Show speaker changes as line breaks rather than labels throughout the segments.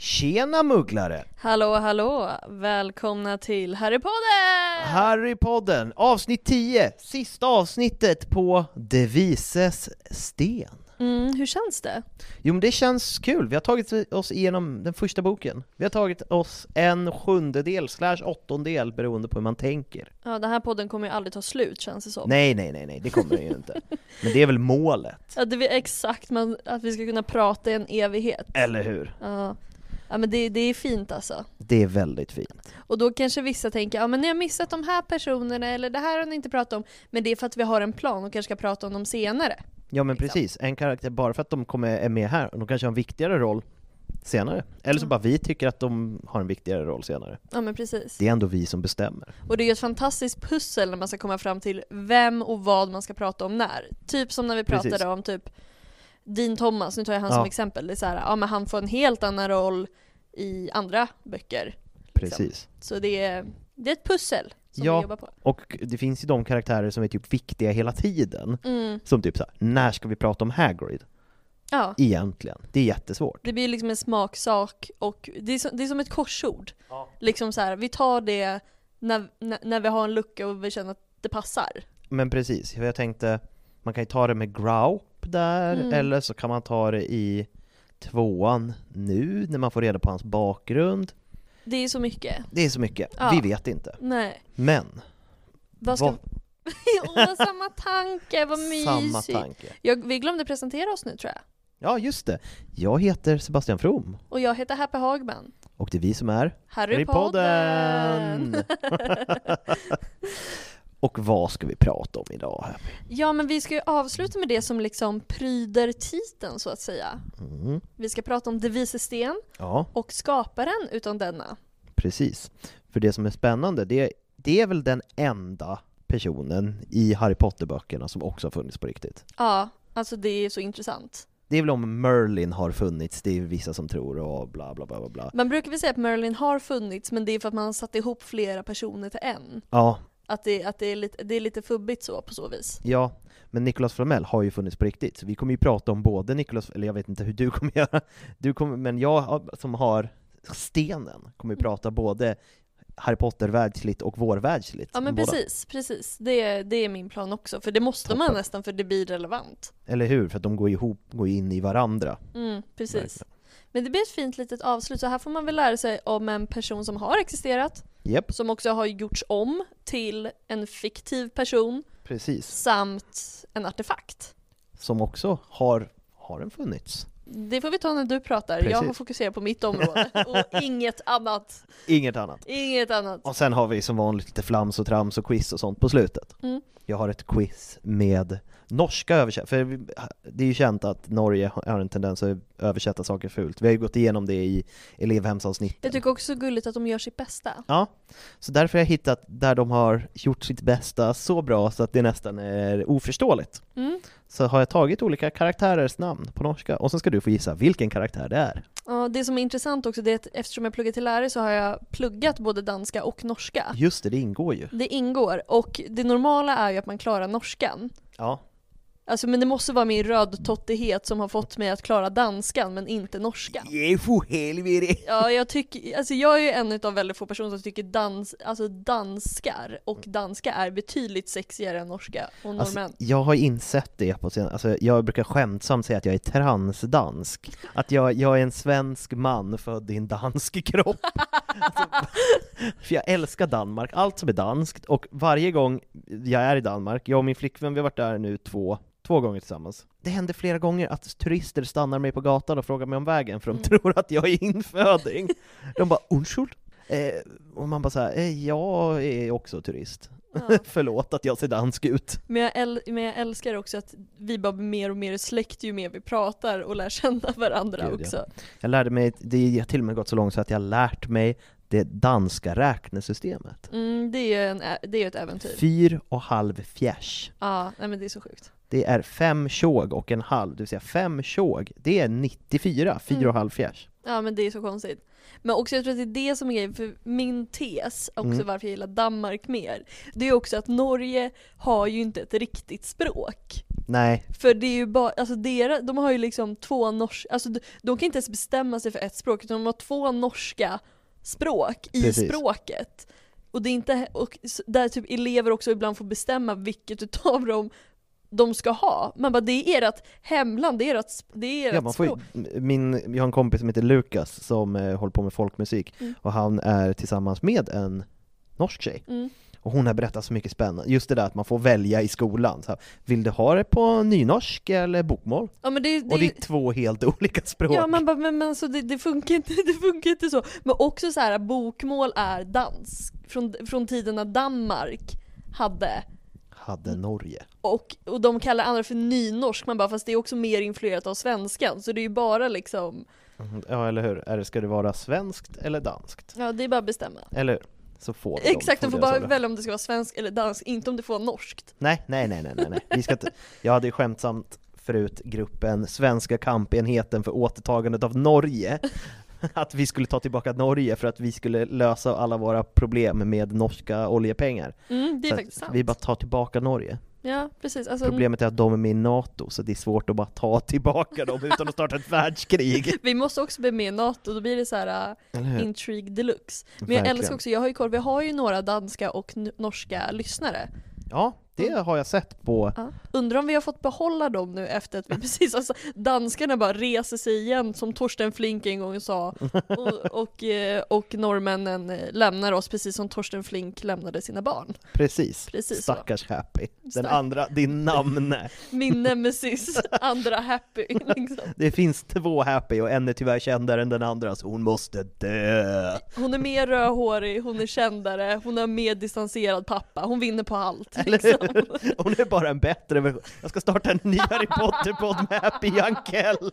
Tjena mugglare!
Hallå hallå! Välkomna till Harrypodden!
Harrypodden, avsnitt 10, sista avsnittet på De vises sten.
Mm, hur känns det?
Jo men det känns kul, vi har tagit oss igenom den första boken. Vi har tagit oss en sjundedel slash åttondel beroende på hur man tänker.
Ja, den här podden kommer ju aldrig ta slut känns det som.
Nej nej nej nej, det kommer det ju inte. Men det är väl målet,
Att det är exakt man, att vi ska kunna prata i en evighet.
eller hur?
Ja. Ja men det, det är fint alltså.
Det är väldigt fint.
Och då kanske vissa tänker ja men ni har missat de här personerna eller det här har ni inte pratat om. Men det är för att vi har en plan och kanske ska prata om dem senare.
Ja men precis, en karaktär, bara för att de kommer, är med här, de kanske har en viktigare roll senare. Eller så bara vi tycker att de har en viktigare roll senare.
Ja men precis.
Det är ändå vi som bestämmer.
Och det är ju ett fantastiskt pussel när man ska komma fram till vem och vad man ska prata om när. Typ som när vi pratade
Precis.
om typ Dean Thomas, nu tar jag han som
Ja.
exempel. Det är så här, ja men han får en helt annan roll i andra böcker. liksom.
Precis.
Så det är, det är ett pussel som
Ja.
vi jobbar på.
Och det finns ju de karaktärer som är typ viktiga hela tiden.
Mm.
Som typ såhär, när ska vi prata om Hagrid?
Ja.
Egentligen. Det är jättesvårt.
Det blir ju liksom en smaksak och det är som, det är som ett korsord. Liksom så här, vi tar det när, när, när vi har en lucka och vi känner att det passar.
Men precis, för jag tänkte, man kan ju ta det med Graup där,
Mm.
eller så kan man ta det i tvåan nu, när man får reda på hans bakgrund.
Det är så mycket.
Det är så mycket,
Ja.
vi vet inte.
Nej.
Men,
Vad ska...
vad-
Åh, samma tanke, vad mysigt.
samma tanke.
Jag, vi glömde presentera oss nu tror jag.
Ja, just det. Jag heter Sebastian From
Och jag heter Happy Hagman.
och det är vi som är
Harrypodden!
och vad ska vi prata om idag? Happy?
Ja men vi ska ju avsluta med det som liksom pryder titeln så att säga.
Mm.
Vi ska prata om De vises sten
Ja,
och skaparen utan denna.
precis. För det som är spännande, det, det är väl den enda personen i Harry Potter-böckerna som också har funnits på riktigt.
Ja, alltså det är så intressant.
Det är väl om Merlin har funnits, det är vissa som tror och bla bla bla bla bla.
Man brukar väl säga att Merlin har funnits men det är för att man har satt ihop flera personer till en.
Ja,
Att det, att det, är, lite, det är lite fubbigt så på så vis.
ja. Men Nicolas Flamel har ju funnits på riktigt, så vi kommer ju prata om både Nicolas, eller jag vet inte hur du kommer göra, du kommer, men jag som har stenen
Mm.
kommer ju prata både Harry Potter-världsligt och vårvärldsligt.
Ja men
båda.
precis, precis. Det, det är min plan också för det måste man
Toppen.
nästan för det blir relevant.
Eller hur? För att de går ihop, går in i varandra.
Mm, precis.
Verkligen.
Men det blir ett fint litet avslut, så här får man väl lära sig om en person som har existerat,
Japp,
som också har gjorts om till en fiktiv person,
precis.
samt en artefakt.
Som också har, har den funnits.
Det får vi ta när du pratar, jag
Precis.
har fokuserat på mitt område och inget annat.
Inget annat.
Inget annat.
Och sen har vi som vanligt lite flams och trams och quiz och sånt på slutet.
Mm.
Jag har ett quiz med norska översättningar, för vi- det är ju känt att Norge har en tendens att översätta saker fult. Vi har ju gått igenom det i elevhemsavsnittet.
Jag tycker också gulligt att de gör sitt bästa.
Ja, så därför har jag hittat där de har gjort sitt bästa så bra så att det nästan är oförståeligt.
Mm.
Så har jag tagit olika karaktärers namn på norska, och sen ska du få gissa vilken karaktär det är.
Ja, det som är intressant också det är att eftersom jag pluggar till lärare så har jag pluggat både danska och norska.
Just det, det ingår ju.
Det ingår och det normala är ju att man klarar norskan.
Ja,
Alltså men det måste vara min rödtottighet som har fått mig att klara danskan men inte norskan.
Jefu helvete!
Ja, jag tycker, alltså jag är ju en av väldigt få personer som tycker dans, alltså danskar och danska är betydligt sexigare än norska och norrmän.
Alltså, jag har insett det på senare, alltså, jag brukar skämtsamt säga att jag är transdansk. Att jag, jag är en svensk man född i en dansk kropp. Alltså, för jag älskar Danmark, allt som är danskt, och varje gång jag är i Danmark, jag och min flickvän, vi har varit där nu två, två gånger tillsammans. Det händer flera gånger att turister stannar mig på gatan och frågar mig om vägen, för de tror att jag är inföding. De bara ”Unschuld?” eh, Och man bara såhär, eh, jag är också turist. Förlåt att jag ser dansk ut.
Men, jag äl, men jag älskar också att vi bara blir mer och mer släkt ju mer vi pratar och lär känna varandra
Gud, ja.
också.
Jag lärde mig, det har till och med gått så långt så att jag har lärt mig det danska räknesystemet.
Mm, det är ju en, ä- det är ju ett äventyr.
Fyr och halv fjärs.
Ja, nej men det är så sjukt.
Det är fem tjog och en halv, det vill säga fem tjog, det är 94, fyra
Mm.
och halv fjärs.
Ja men det är så konstigt. Men också jag tror att det är det som är grejen, för min tes, också
Mm.
varför jag gillar Danmark mer, det är också att Norge har ju inte ett riktigt språk.
Nej,
För det är ju bara, alltså deras, de har ju liksom två norska, alltså de, de kan inte ens bestämma sig för ett språk utan de har två norska språk i
Precis.
språket. Och det är inte, och s- där typ elever också ibland får bestämma vilket utav dem de ska ha. Man bara det är ert hemland, det är ert, sp- det är ert
ja, man får ju,
språk.
min, jag har en kompis som heter Lukas som eh, håller på med folkmusik
Mm.
och han är tillsammans med en norsk tjej.
Mm.
Och hon har berättat så mycket spännande, just det där att man får välja i skolan. Så här, vill du ha det på nynorsk eller bokmål?
Ja, men det, det,
Och det är två helt olika språk.
Ja man bara, men, men så det, det, funkar inte, det funkar inte så. Men också så här bokmål är dans. Från, från tiden när Danmark hade Mm.
Hade Norge.
och, och de kallar andra för nynorsk, man bara fast det är också mer influerat av svenskan så det är ju bara liksom
Ja, eller hur? Är det, ska det vara svenskt eller danskt?
Ja det är bara att bestämma
Eller hur? Så får vi
Exakt, de får
deras
bara
ålder.
välja om det ska vara svensk eller dansk, inte om det får vara norskt
Nej, nej, nej, nej, nej, nej. Vi ska inte... Jag hade ju skämtsamt förut gruppen Svenska kampenheten för återtagandet av Norge. Att vi skulle ta tillbaka Norge för att vi skulle lösa alla våra problem med norska oljepengar.
mm, Det är
Så att
faktiskt sant
Vi bara tar tillbaka Norge.
Ja precis, alltså,
Problemet är att de är med i NATO, så det är svårt att bara ta tillbaka dem utan att starta ett världskrig.
vi måste också bli med i NATO, då blir det så här
Eller hur?
uh, intrigue deluxe Men jag
Verkligen.
älskar också, jag har ju koll, vi har ju några danska och n- norska lyssnare
Ja, det har jag sett på
Ja. Undrar om vi har fått behålla dem nu efter att vi precis, alltså danskarna bara reser sig igen som Torsten Flink en gång sa och, och, eh, och norrmännen eh, lämnar oss precis som Torsten Flink lämnade sina barn.
Precis,
Precis så.
stackars Happy. Den
Stack-
andra, din namn.
Min nemesis, andra happy liksom.
Det finns två Happy och en är tyvärr kändare än den andra så hon måste dö.
Hon är mer rödhårig, hon är kändare, hon har mer distanserad pappa, hon vinner på allt. liksom.
Eller hur? Hon är bara en bättre version. Jag ska starta en ny Harry Potter-podd med Happy Jankell.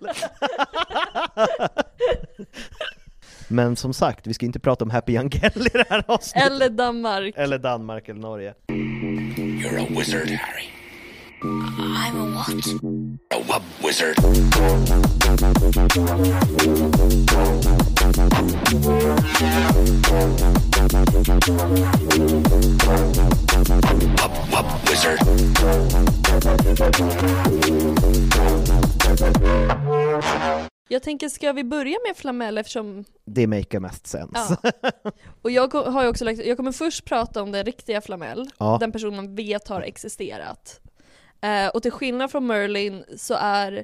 Men som sagt, vi ska inte prata om Happy Jankell i det här avsnittet.
Eller Danmark.
Eller Danmark eller Norge.
You're a wizard, Harry. I'm a what? A wub wizard. Wub wub wizard.
Jag tänker, ska vi börja med flamel eftersom
Det maker mest sens.
Ja. Och jag ko- har ju också lagt, jag kommer först prata om den riktiga Flamel,
Ja.
den personen man vet har existerat. Eh, och till skillnad från Merlin så är,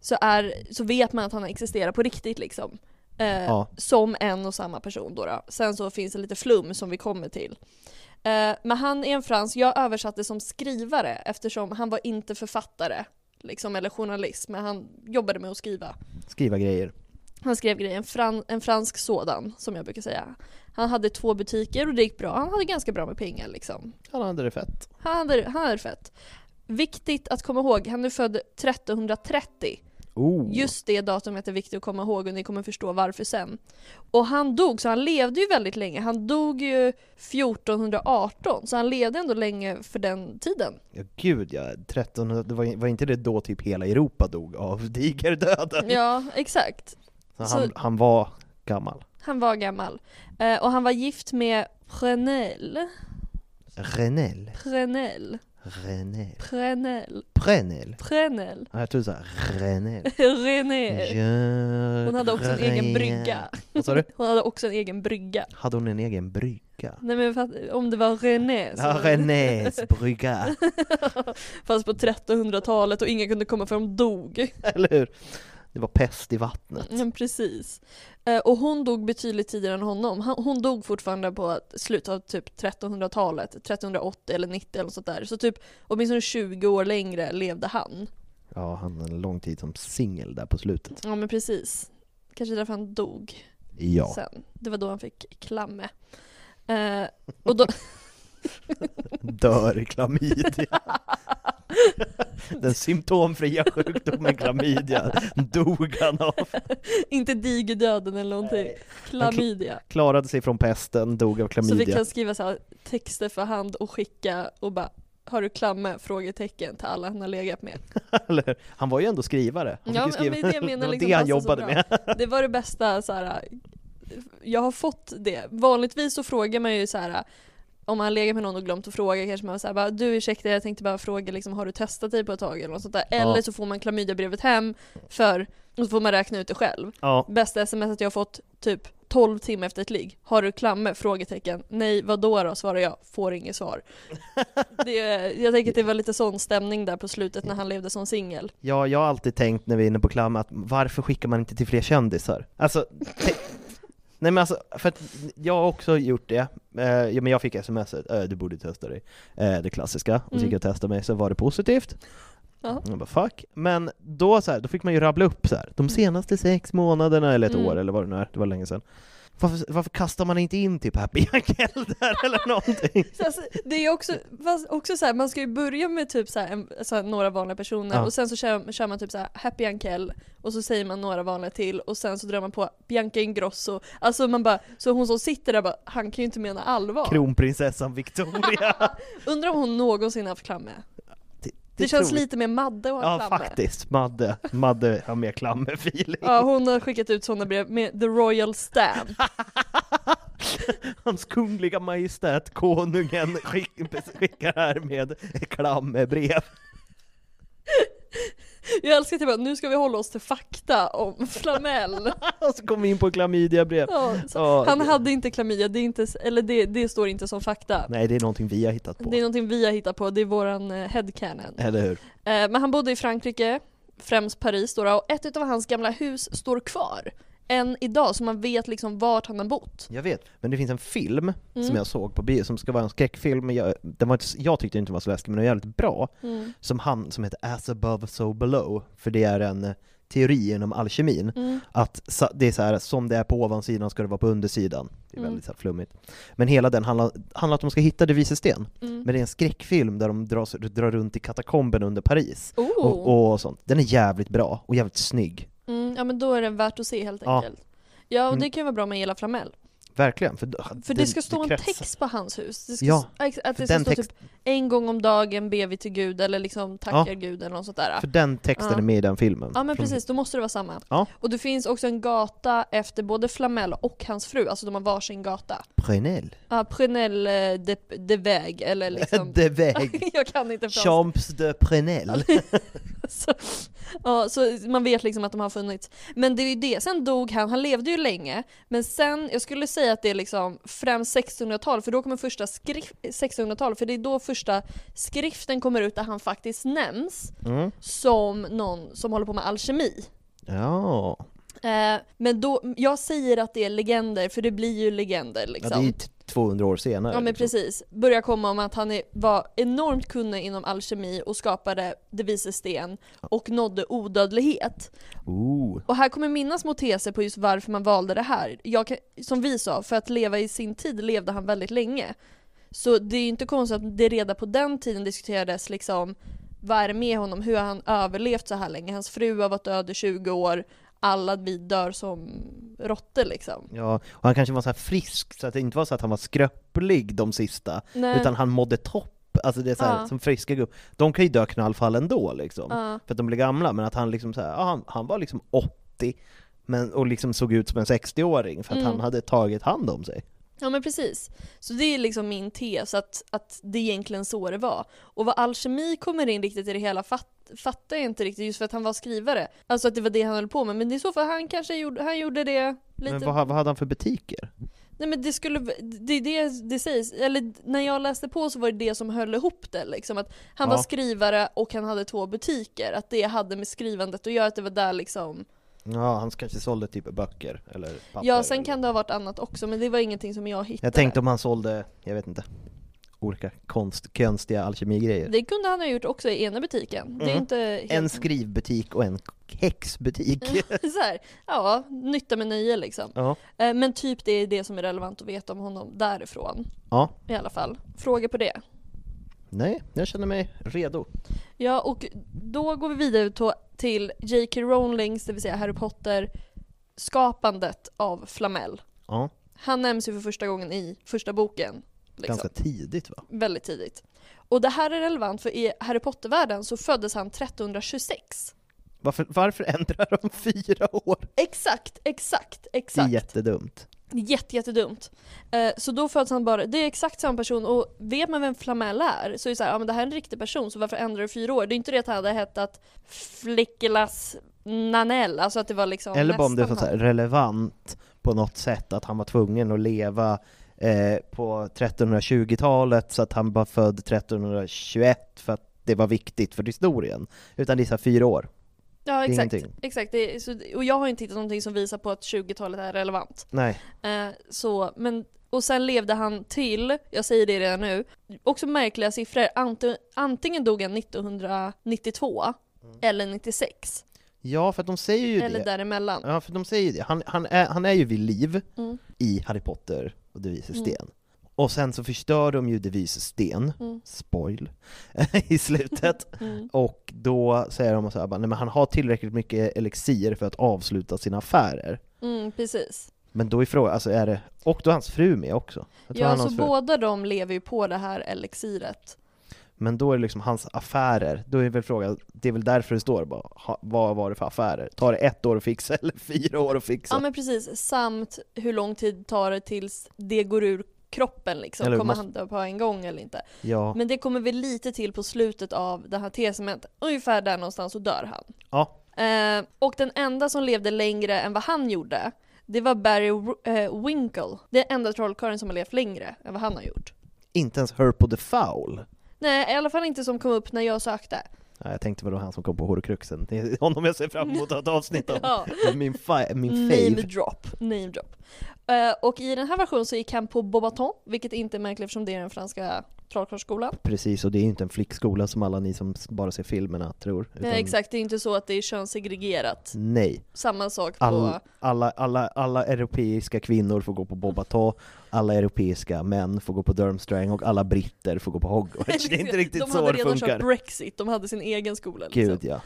så är, så vet man att han existerar på riktigt liksom. Eh,
Ja.
Som en och samma person då, då. Sen så finns det lite flum som vi kommer till. Eh, men han är en fransk, jag översatte som skrivare eftersom han var inte författare. Liksom, eller journalist, men han jobbade med att skriva.
Skriva grejer.
Han skrev grejer, en, fran- en fransk sådan som jag brukar säga. Han hade två butiker och det gick bra. Han hade ganska bra med pengar liksom.
Han hade det fett.
Han hade, han hade fett. Viktigt att komma ihåg, han är född 1330.
Oh.
Just det datumet är viktigt att komma ihåg och ni kommer förstå varför sen. Och han dog, så han levde ju väldigt länge. Han dog ju 1418, så han levde ändå länge för den tiden.
Ja, gud ja, 1300, det var, var inte det då typ hela Europa dog av digerdöden?
Ja, exakt.
så
så-
han, han var gammal.
Han var gammal. Eh, och han var gift med Prenel.
Renel,
Prenel.
Renel,
Prenel.
Prenel.
Prenel.
Ja, jag tror såhär, Renel.
René. Hon hade också en egen brygga.
Vad sa du?
Hon hade också en egen brygga.
Hade hon en egen brygga?
Nej men fatt- om det var René så
Ja, Renés brygga,
Fast på 1300-talet och ingen kunde komma för de dog.
eller hur? Det var pest i vattnet.
Men precis. Eh, Och hon dog betydligt tidigare än honom. Han- Hon dog fortfarande på slutet av typ 1300-talet, 1380 eller 90 eller något sånt där. Så typ åtminstone 20 år längre levde han.
Ja, han hade en lång tid som singel där på slutet.
Ja men precis. Kanske därför han dog.
Ja.
sen. Det var då han fick klamme. Eh, och då,
Dör i klamydia. Den symptomfria sjukdomen klamydia dog han av.
inte digerdöden eller någonting. Klamydia.
Klarade sig från pesten, dog av
Så vi
klamydia.
kan skriva så här texter för hand och skicka och bara har du klamme? Frågetecken till alla han har legat med.
Eller hur? Han var ju ändå skrivare. Han
Ja,
fick ju
men-
skriva-
men det jag menar
var
liksom
det han
passar så
jobbade
bra.
med.
Det var det bästa så här. jag har fått det. Vanligtvis så frågar man ju så här. om man har legat med någon och glömt att fråga kanske man säger bara du ursäkta jag tänkte bara fråga liksom har du testat dig på ett tag eller något sånt där. Eller så får man klamydiabrevet hem för, och så får man räkna ut det själv.
Ja,
Bästa sms att jag har fått typ 12 timmar efter ett ligg. Har du klamme? Frågetecken. Nej, vad då då? Svarar jag. Får inget svar. Det, jag tänker att det var lite sån stämning där på slutet när han levde som singel.
ja, jag har alltid tänkt när vi är inne på klam att varför skickar man inte till fler kändisar? Alltså, te- nej men alltså, för att jag har också gjort det. Eh, ja, men jag fick sms eh, du borde testa dig. Eh, det klassiska. Och så gick jag och testade mig, så var det positivt.
Mm. Ja.
Jag bara fuck. Men då så här, då fick man ju rabbla upp så här. de senaste sex månaderna eller ett
Mm.
år eller vad det nu är, det var länge sedan. Varför, varför kastar man inte in typ Happy Angel där eller någonting?
Så Alltså, det är också, fast också så här, man ska ju börja med typ så här, en, så här, några vanliga personer
Ja.
och sen så kör, kör man typ så här, Happy Ankel och så säger man några vanliga till och sen så drar man på Bianca Ingrosso. Alltså man bara, så hon som sitter där bara, han kan ju inte mena allvar.
Kronprinsessan Victoria.
Undrar om hon någonsin haft klamme. Det,
Det,
känns
tror-
lite mer Madde och
Ja
klamme.
faktiskt, Madde, Madde har mer klammerfeeling.
Ja, hon har skickat ut sådana brev med the royal stamp.
Hans kungliga majestät konungen skick, skickar här med klammerbrev.
Jag älskar att jag bara, nu ska vi hålla oss till fakta om Flamel.
Och så kom vi in på klamydiabrev.
Ja, så,
Ja,
han
det-
hade inte klamydia, det, är inte, eller det, det står inte som fakta.
Nej det är någonting vi har hittat på.
Det är någonting vi har hittat på, det är våran eh, headcanon. Eh,
Eller hur?
men han bodde i Frankrike, främst Paris då, och ett av hans gamla hus står kvar. Än idag, så man vet liksom vart han har bott.
Jag vet, men det finns en film
Mm.
som jag såg på bio som ska vara en skräckfilm, men jag, den var inte, jag tyckte inte den var så läskig men den var jävligt bra,
Mm.
som, han, som heter As above so below, för det är en eh, teori inom alkemin,
Mm.
att sa- det är så här, som det är på ovansidan ska det vara på undersidan. Det
Mm.
är väldigt så här, flummigt. Men hela den handlar, handlar att de ska hitta Devises sten,
Mm.
men det är en skräckfilm där de dras, drar runt i katakomben under Paris.
Oh.
Och, och sånt. Den är jävligt bra, och jävligt snygg.
Mm, ja men då är det värt att se helt
Ja. Mm.
enkelt. Ja, och det kan ju vara bra med Ela Flamel.
Verkligen. För,
För det,
den-
ska stå en
kretsar-
text på hans hus. Det ska,
Ja,
ex- att
för
det ska
den
stå
text-
typ en gång om dagen ber vi till Gud eller liksom tackar Gud eller något sånt där.
För den texten
Ja.
är med i den filmen.
Ja men
Från-
precis, då måste det vara samma.
Ja.
Och det finns också en gata efter både Flamel och hans fru, alltså de har varsin gata.
Prenel.
Ja, Prunel eh, de, de väg eller liksom...
De väg.
jag kan inte franska.
Champs de Prenel.
Så, ja, så man vet liksom att de har funnits. Men det är ju det, sen dog han, han levde ju länge. Men sen, jag skulle säga att det är liksom främst 1600-tal, för då kommer första skrift, 1600-tal, för det är då första skriften kommer ut där han faktiskt nämns
Mm.
som någon som håller på med alkemi.
Ja.
Eh, men då, jag säger att det är legender, för det blir ju legender liksom.
ja, det är ju t- 200 år senare.
Ja men
liksom.
precis. Börjar komma om att han är, var enormt kunnig inom alkemi och skapade de vises sten och nådde odödlighet.
Ooh.
Och här kommer mina små teser på just varför man valde det här. Jag kan, som vi sa, för att leva i sin tid levde han väldigt länge. Så det är ju inte konstigt att det redan på den tiden diskuterades liksom vad är det med honom? Hur har han överlevt så här länge? Hans fru har varit död i 20 år, alla vi dör som råttor liksom.
Ja, och han kanske var så här frisk, så att det inte var så att han var skröplig de sista,
Nej.
utan han mådde topp. Alltså det är så här,
Ja.
som friska gubb. De kan ju dö knallfall ändå liksom,
Ja.
för att de blir gamla, men att han liksom så här, ja, han, han var liksom 80, men, och liksom såg ut som en 60-åring för att
Mm.
han hade tagit hand om sig.
Ja men precis. Så det är liksom min tes, att, att det är egentligen så det var. Och vad alkemi kommer in riktigt i det hela fat, fattar jag inte riktigt, just för att han var skrivare. Alltså att det var det han höll på med, men det är så för han kanske gjorde, han gjorde det lite...
Men vad, ha- vad hade han för butiker?
Nej men det skulle, det är det det sägs, eller när jag läste på så var det det som höll ihop det liksom att han
Ja.
var skrivare och han hade två butiker, att det hade med skrivandet att göra, att det var där liksom
Ja, han kanske sålde typ böcker eller papper.
Ja sen
eller-
kan det ha varit annat också men det var ingenting som jag hittade
Jag tänkte om han sålde, jag vet inte, olika konst, konstiga alkemigrejer.
Det kunde han ha gjort också i ena butiken, det är
Mhm.
inte helt...
En skrivbutik och en häxbutik.
så här, ja, nytta med nöje liksom.
ja.
Eh, Men typ det är det som är relevant att veta om honom därifrån
ja,
i alla fall. Fråga på det.
nej, jag känner mig redo.
Ja, och då går vi vidare to- till J.K. Rowlings, det vill säga Harry Potter, skapandet av Flamel.
Ja,
Han nämns ju för första gången i första boken. Liksom.
ganska tidigt va?
Väldigt tidigt. Och det här är relevant för i Harry Potter-världen så föddes han 1326.
Varför, varför ändrar de fyra år?
Exakt, exakt,
Det är
exakt.
jättedumt.
Jätte, jättedumt. Eh, så då föds han bara, det är exakt samma person och vet man vem Flamel är så är det så här, ja men det här är en riktig person så varför ändrar du fyra år? Det är inte det att han hade hetat Flickelas Nanell, alltså att det var liksom
Eller bara om det var
nästan
så här
han.
relevant på något sätt, att han var tvungen att leva eh, på 1320-talet så att han var född 1321 för att det var viktigt för historien. Utan det är så här fyra år.
Ja
är
exakt,
ingenting.
exakt. Det är, så, och jag har inte hittat någonting som visar på att 20-talet är relevant.
Nej.
Eh, så, men, och sen levde han till, jag säger det redan nu, också märkliga siffror. Ante, antingen dog han 1992 eller 96,
Ja, för att de säger ju
eller
Mm. det.
däremellan.
Ja, för de säger ju det. Han, han, är, han är ju vid liv
Mm.
i Harry Potter och De vises sten. Och sen så förstör de ju De vises sten,
Mm.
spoil, i slutet. Och då säger de så här, bara, nej men han har tillräckligt mycket elixir för att avsluta sina affärer.
Mm, precis.
Men då är frågan, alltså är det, och då är hans fru med också. Jag tror
Ja,
han har
så
hans fru.
båda de lever ju på det här elixiret.
Men då är det liksom hans affärer, då är väl frågan, det är väl därför det står bara, ha, vad var det för affärer? Tar det ett år att fixa eller fyra år att fixa?
Ja men precis, samt hur lång tid tar det tills det går ur kroppen liksom.
Eller
kommer
måste-
han dö på en gång eller inte?
ja.
Men det kommer vi lite till på slutet av det här tesemet. Ungefär där någonstans så dör han.
ja.
Eh, och den enda som levde längre än vad han gjorde, det var Barry W- eh, Winkle. Det är enda trollkarlen som har levt längre än vad han har gjort.
Inte ens Herpo the Foul.
Nej, i alla fall inte som kom upp när jag sökte.
Nej, jag tänkte väl det var han som kom på Horokruxen. Det är honom jag ser fram emot att ha ett avsnitt om.
Ja. Mm.
Min, fa- min
Name
fave.
drop. Name drop. Eh, och i den här versionen så gick han på Bobaton, vilket inte är märkligt eftersom det är den franska trollkarlsskolan.
Precis, och det är ju inte en flickskola som alla ni som bara ser filmerna tror.
Eh, exakt, det är inte så att det är könssegregerat.
Nej,
Samma sak på...
Mm. All, alla, alla, alla europeiska kvinnor får gå på Bobato, alla europeiska män får gå på Durmstrang och alla britter får gå på Hogwarts. Det är inte riktigt
de
så
hade
det
redan
funkar.
kört Brexit, de hade sin egen skola. Liksom.
Gud ja.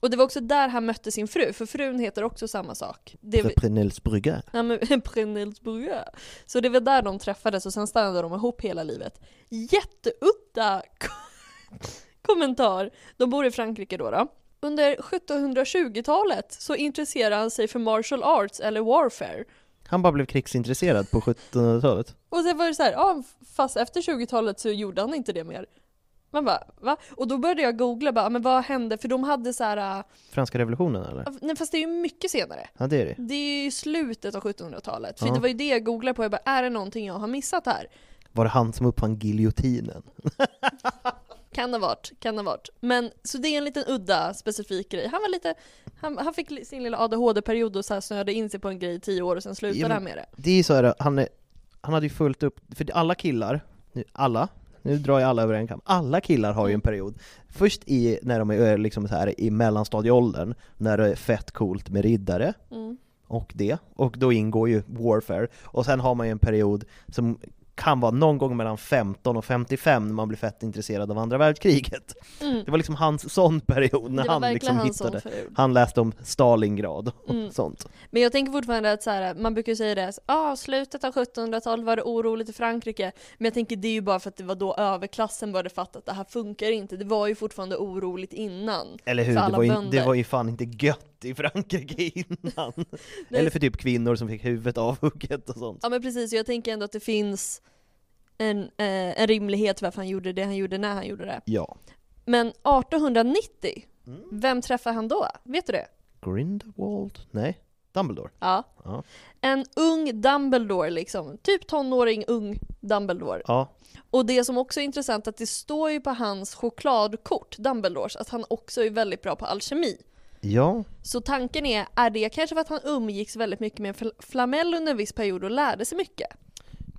Och det var också där han mötte sin fru, för frun heter också samma sak. Det
The Prenels Brygge.
Ja, men Prenelsburgö. Så det var där de träffades och sen stannade de ihop hela livet. Jätteudda ko- kommentar. De bor i Frankrike då. då. Under 1720-talet så intresserade han sig för martial arts eller warfare.
Han bara blev krigsintresserad på 1700-talet.
Och sen var det så här, ja fast efter 20-talet så gjorde han inte det mer. Man bara, va? Och då började jag googla bara, men vad hände? För de hade så här,
Franska revolutionen eller?
äh, nej fast det är ju mycket senare.
Ja det är det.
Det är ju slutet av 1700-talet. För
Ja.
det var ju det jag googlade på, jag bara, är det någonting jag har missat här?
Var det han som uppfann giljotinen?
Kan ha varit, kan ha varit. Men så det är en liten udda specifik grej. Han var lite, han, han fick li- sin lilla ADHD-period och så här snöade in sig på en grej i tio år och sen
Ja,
slutade
men-
han med det.
Det är ju så här, han, är, han hade ju fullt upp, för alla killar, nu, alla, nu drar jag alla över en kam, alla killar har ju en period. Först i, när de är eh, liksom så här, i mellanstadieåldern, när det är fett coolt med riddare
Mm.
och det, och då ingår ju Warfare, och sen har man ju en period som kan vara någon gång mellan 15 och 55 när man blir fett intresserad av andra världskriget. Det var liksom hans sån period när
Mm. Det var
han liksom
verkligen hans sån
hittade,
period. Mm.
han läste om Stalingrad och sånt.
Men jag tänker fortfarande att så här, man brukar ju säga det, ah, slutet av 1700-talet var det oroligt i Frankrike. Men jag tänker det är ju bara för att det var då överklassen började fatta att det här funkar inte. Det var ju fortfarande oroligt innan.
Eller hur?
För
Det
alla
var, ju, det
bönder.
var ju fan inte gött i Frankrike innan. Eller för typ kvinnor som fick huvudet avhugget och sånt.
Ja men precis, jag tänker ändå att det finns en, eh, en rimlighet varför han gjorde det han gjorde när han gjorde det.
Ja.
Men 1890,
Mm.
vem träffar han då? Vet du det?
Grindelwald? Nej. Dumbledore?
Ja.
Ja.
En ung Dumbledore liksom, typ tonåring ung Dumbledore.
Ja.
Och det som också är intressant är att det står ju på hans chokladkort, Dumbledores, att han också är väldigt bra på alkemi.
Ja.
Så tanken är, är det kanske för att han umgicks väldigt mycket med fl- flamell under en viss period och lärde sig mycket?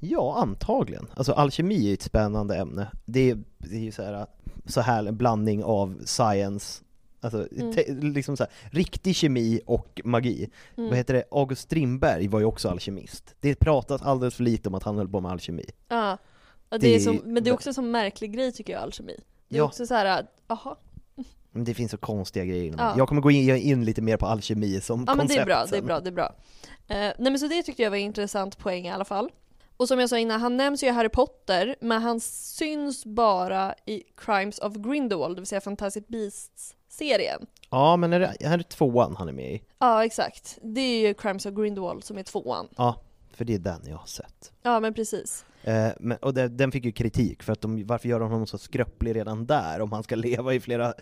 Ja, antagligen. Alltså alkemi är ju ett spännande ämne. Det är, det är ju så här, så här en blandning av science, alltså
Mm.
te, liksom så här, riktig kemi och magi.
Mm.
Vad heter det? August Strindberg var ju också alkemist. Det pratas alldeles för lite om att han höll på med alkemi.
Ja. Ja, det
Det
är som,
är-
men det är också en sån märklig grej tycker jag, alkemi. Det är
Ja.
också så här, jaha.
Men det finns så konstiga grejer inom
Ja.
det. Jag kommer gå in, in lite mer på alkemi som
Ja men
koncept
det är bra, det är
sen.
bra, det är bra. Eh, nej men så det tyckte jag var en intressant poäng i alla fall. Och som jag sa innan, han nämns ju i Harry Potter, men han syns bara i Crimes of Grindelwald, det vill säga Fantastic Beasts-serien.
Ja, men är det, är det tvåan han är med i?
Ja, exakt. Det är ju Crimes of Grindelwald som är tvåan.
Ja, för det är den jag har sett.
Ja, men precis.
Eh, men, och det, den fick ju kritik för att de, varför gör de honom så skröplig redan där om han ska leva i flera,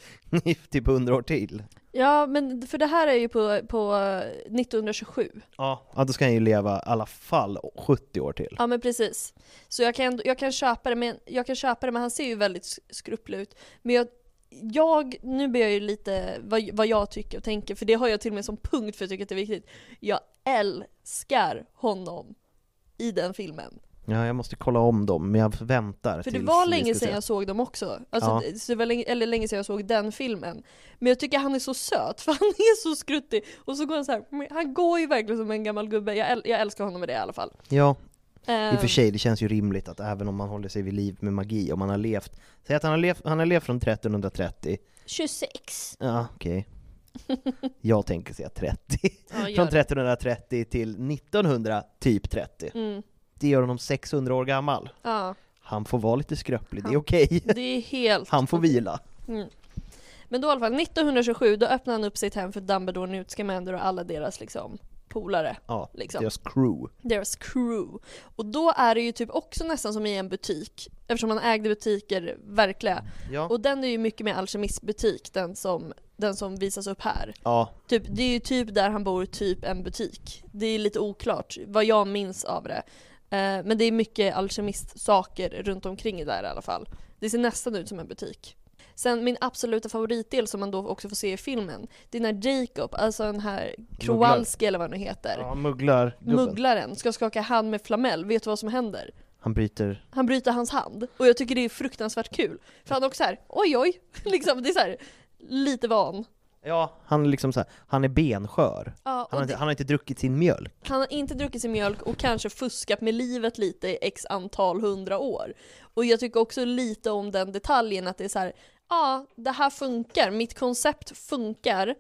i typ hundra år till?
Ja, men för det här är ju på, på eh, 1927.
Ja. ja, då ska han ju leva i alla fall 70 år till.
Ja men precis. Så jag kan, jag kan, köpa, det, men, jag kan köpa det men han ser ju väldigt sk- skrupplig ut. Men jag, jag nu blir jag ju lite vad, vad jag tycker och tänker för det har jag till och med som punkt för jag tycker att det är viktigt. Jag älskar honom i den filmen.
Ja, jag måste kolla om dem, men jag väntar
För det
tills
var
vi
länge
ska
sedan
se.
jag såg dem också. Alltså,
Ja.
det- så det var länge, eller länge sedan jag såg den filmen. Men jag tycker han är så söt för han är så skruttig. Och så går han så här, han går ju verkligen som en gammal gubbe. Jag, äl, jag älskar honom med det i alla fall.
Ja, i och för
Ehm,
sig, det känns ju rimligt att även om man håller sig vid liv med magi, om man har levt, säg att han har levt, han har levt från 1330,
26.
ja okej. Jag tänker säga 30.
Ja, gör
Från
det.
1330 till 1900, typ 30. Det gör honom 600 år gammal.
Mm. Ja,
Han får vara lite skröplig, det är okej.
det är helt...
Han får vila.
Men då i alla fall, 1927 då öppnade han upp sitt hem för Dumbledore, Newt Scamander och alla deras liksom polare.
Ja,
Liksom.
deras crew.
Deras crew. Och då är det ju typ också nästan som i en butik, eftersom han ägde butiker, verkliga.
Ja.
Och den är ju mycket mer alkemistbutik, den som, den som visas upp här.
Ja,
Typ, det är ju typ där han bor, typ en butik. Det är lite oklart vad jag minns av det. Eh, Men det är mycket alkemistsaker runt omkring där i alla fall. Det ser nästan ut som en butik. Sen min absoluta favoritdel som man då också får se i filmen, det är när Jacob, alltså den här Kowalski eller vad han nu heter,
ja mugglar
mugglaren, ska skaka hand med Flamel. Vet du vad som händer?
Han bryter.
Han bryter hans hand. Och jag tycker det är fruktansvärt kul. För han är också såhär, oj oj, liksom, det är såhär, lite van.
Ja, han är liksom så här, han är benskör.
Ja,
han,
och
har
det-
inte, han har inte druckit sin mjölk.
Han har inte druckit sin mjölk och kanske fuskat med livet lite i x antal hundra år. Och jag tycker också lite om den detaljen att det är så här, ja det här funkar, mitt koncept funkar,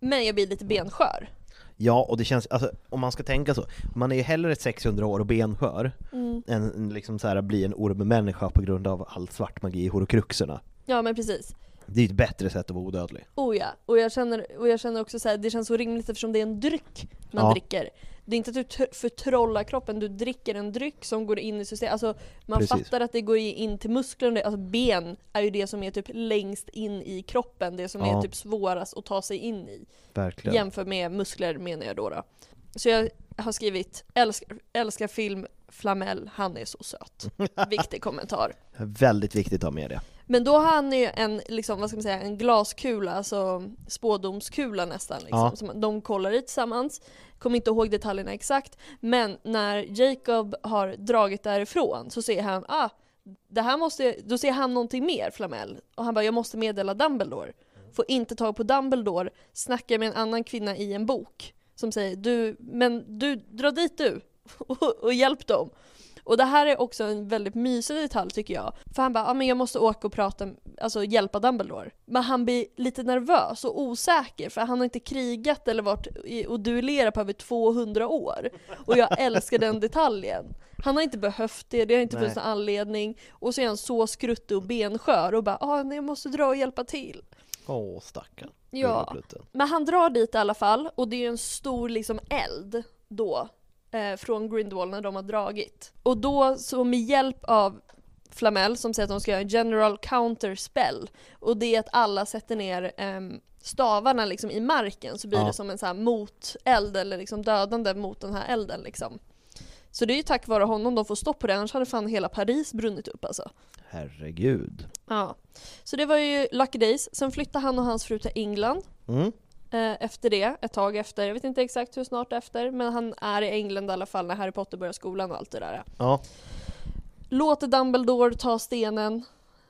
men jag blir lite benskör.
Ja, och det känns, alltså, om man ska tänka så, man är ju hellre 600 år och benskör
Mm.
än än liksom så här, att bli en ormmänniska på grund av all svart magi i horokruxerna.
Ja men precis.
Det är ju ett bättre sätt att vara odödlig.
Oh ja. Och jag känner, och jag känner också så här, det känns så rimligt eftersom det är en dryck man
Ja.
dricker. Det är inte att du tr- förtrollar kroppen, du dricker en dryck som går in i systemet. Alltså man
Precis.
fattar att det går in till musklerna, alltså ben är ju det som är typ längst in i kroppen, det som är
Ja.
typ svårast att ta sig in i.
Verkligen.
Jämför med muskler menar jag då. då. Så jag har skrivit älskar, älskar film, Flamel, han är så söt. Viktig kommentar.
Väldigt viktigt att ha med det.
Men då har han ju en, liksom, vad ska man säga, en glaskula, alltså spådomskula nästan. Liksom,
Ja.
som de kollar i tillsammans. Kommer inte ihåg detaljerna exakt. Men när Jacob har dragit därifrån så ser han, ah, det här måste, då ser han någonting mer, Flamel. Och han bara, jag måste meddela Dumbledore. Får inte tag på Dumbledore, snackar med en annan kvinna i en bok. Som säger, du, men du, dra dit du och, och hjälp dem. Och det här är också en väldigt mysig detalj tycker jag. För han bara, ah, men jag måste åka och prata, alltså hjälpa Dumbledore. Men han blir lite nervös och osäker för han har inte krigat eller varit i- och duellerat på över 200 år. Och jag älskar den detaljen. Han har inte behövt det, det har inte funnits
Nej.
någon anledning. Och så är han så skruttig och benskör och bara, ah, nej, jag måste dra och hjälpa till.
Åh stackarn.
Ja.
Lilla plutten.
Men han drar dit i alla fall och det är ju en stor liksom eld då eh, från Grindelwald när de har dragit. Och då så med hjälp av Flamel som säger att de ska göra en general counter spell och det är att alla sätter ner ehm, stavarna liksom i marken så blir
Ja.
det som en sån här moteld eller liksom dödande mot den här elden liksom. Så det är ju tack vare honom de får stopp på det, annars hade fan hela Paris brunnit upp alltså.
Herregud.
Ja. Så det var ju Lucky Days, sen flyttade han och hans fru till England
Mm.
Eh, efter det, ett tag efter. Jag vet inte exakt hur snart efter, men han är i England i alla fall när Harry Potter börjar skolan och allt det där.
Ja.
Låter Dumbledore ta stenen,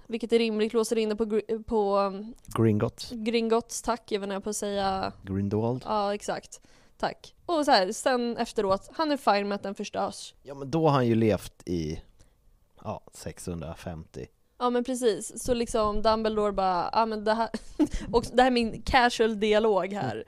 vilket är rimligt, låser in det på, Gr- på um,
Gringotts.
Gringotts tack, även när jag på att säga,
Grindelwald.
ja exakt, tack. Och så här, sen efteråt, han är fine med att den förstörs.
Ja men då har han ju levt i, ja, 650.
Ja men precis, så liksom Dumbledore bara, ja men det här, och det här är min casual dialog här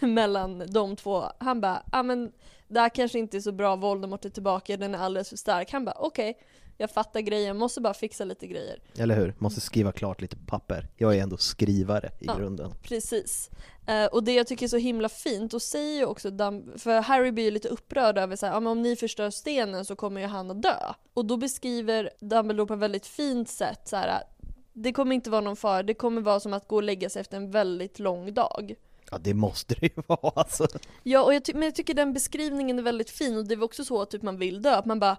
mellan de två. Han bara, ja men det här kanske inte är så bra, Voldemort är tillbaka, den är alldeles för stark. Han bara, okej, jag fattar grejen, måste bara fixa lite grejer.
Eller hur? Måste skriva klart lite papper. Jag är ändå skrivare i
Ja.
grunden.
Precis. Eh, och det jag tycker är så himla fint, och säger ju också Dum- för Harry blir ju lite upprörd över så här, "Ja, men om ni förstör stenen så kommer ju han att dö. Och då beskriver Dumbledore på ett väldigt fint sätt så här, det kommer inte vara någon fara, det kommer vara som att gå och lägga sig efter en väldigt lång dag.
Ja det måste det ju vara alltså.
Ja, och jag ty- men jag tycker den beskrivningen är väldigt fin och det var också så typ man vill dö, att man bara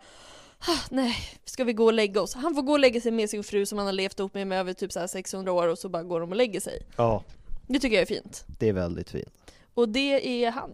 "Ah, Nej, ska vi gå och lägga oss? Han får gå och lägga sig med sin fru som han har levt ihop med, med över typ så här 600 år och så bara går de och lägger sig.
Ja,
Det tycker jag är fint.
det är väldigt fint.
Och det är han.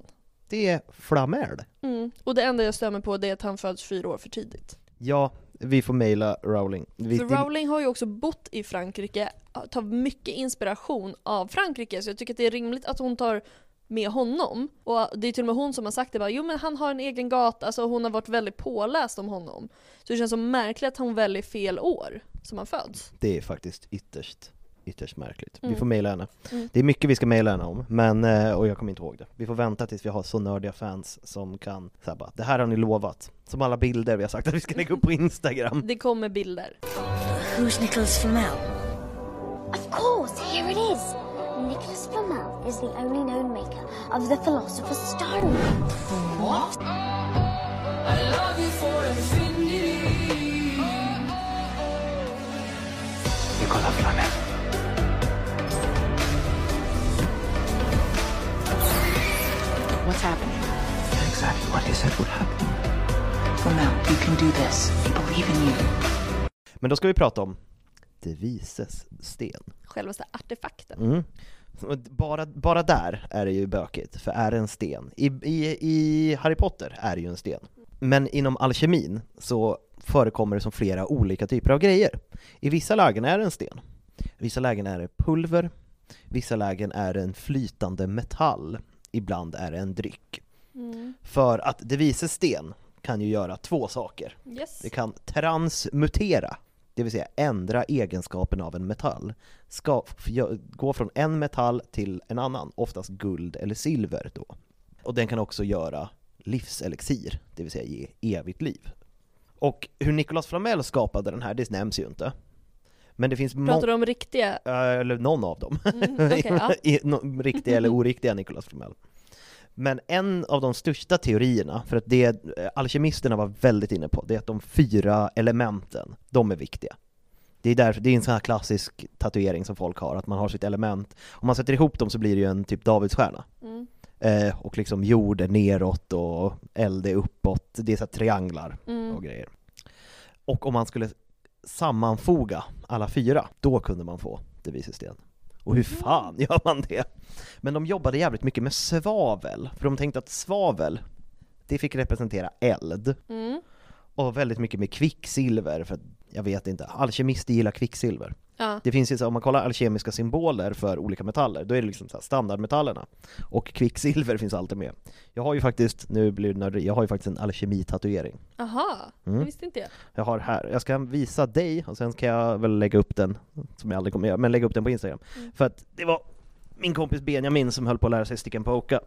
Det är Flamel.
Mm. Och det enda jag stämmer på det är att han föds fyra år för tidigt.
Ja, vi får mejla Rowling. Vi,
För Rowling har ju också bott i Frankrike, tar mycket inspiration av Frankrike, så jag tycker att det är rimligt att hon tar med honom. Och det är till och med hon som har sagt det bara, jo men han har en egen gata, alltså hon har varit väldigt påläst om honom. Så det känns så märkligt att hon väljer fel år som han föds.
det är faktiskt ytterst, ytterst märkligt. Vi får mejla henne. Det är mycket vi ska mejla henne om, men, eh, och jag kommer inte ihåg det. Vi får vänta tills vi har så nördiga fans som kan säga bara, det här har ni lovat. Som alla bilder vi har sagt att vi ska lägga upp på Instagram.
Det kommer bilder.
Who's Nicholas Flamel?
Of course, here it is. Nicholas Flamel is the only known maker of the Philosopher's Stone.
Nicola Flamel.
What's happening?
Exactly what he said would happen.
Flamel, you can do this. We believe in you.
Men då ska vi prata om De vises sten.
Självaste artefakten.
Mm. Och Bara, bara där är det ju bökigt, för är det en sten? I, i, I Harry Potter är det ju en sten. Men inom alkemin så förekommer det som flera olika typer av grejer. I vissa lägen är det en sten, i vissa lägen är det pulver, i vissa lägen är det en flytande metall, ibland är det en dryck. För att de vises sten kan ju göra två saker.
Yes.
Det kan transmutera, det vill säga ändra egenskapen av en metall. Ska f- gö- gå från en metall till en annan, oftast guld eller silver då. Och den kan också göra livselixir, det vill säga ge evigt liv. Och hur Nicolas Flamel skapade den här, det nämns ju inte. Men det finns
Pratar
många,
du om riktiga?
eller någon av dem.
okej, ja.
I- no- Riktiga eller oriktiga Nicolas Flamel. Men en av de största teorierna, för att det eh, alkemisterna var väldigt inne på, det är att de fyra elementen, de är viktiga. Det är, därför, det är en sån här klassisk tatuering som folk har, att man har sitt element. Om man sätter ihop dem så blir det ju en typ Davidsstjärna. Eh, och liksom jord är neråt och eld är uppåt, det är så här trianglar och grejer. Och om man skulle sammanfoga alla fyra, då kunde man få det vises sten. Och hur fan gör man det? Men de jobbade jävligt mycket med svavel, för de tänkte att svavel, det fick representera eld. och väldigt mycket med kvicksilver, för att jag vet inte, alkemister gillar kvicksilver.
Ja.
Det finns ju, så- om man kollar alkemiska symboler för olika metaller, då är det liksom så här standardmetallerna. Och kvicksilver finns alltid med. Jag har ju faktiskt, nu blir det nördig, jag har ju faktiskt en alkemitatuering.
Aha,
Mm.
det visste inte jag.
Jag har här, jag ska visa dig och sen kan jag väl lägga upp den, som jag aldrig kommer göra, men lägga upp den på Instagram. För att det var min kompis Benjamin som höll på att lära sig sticken på Oka.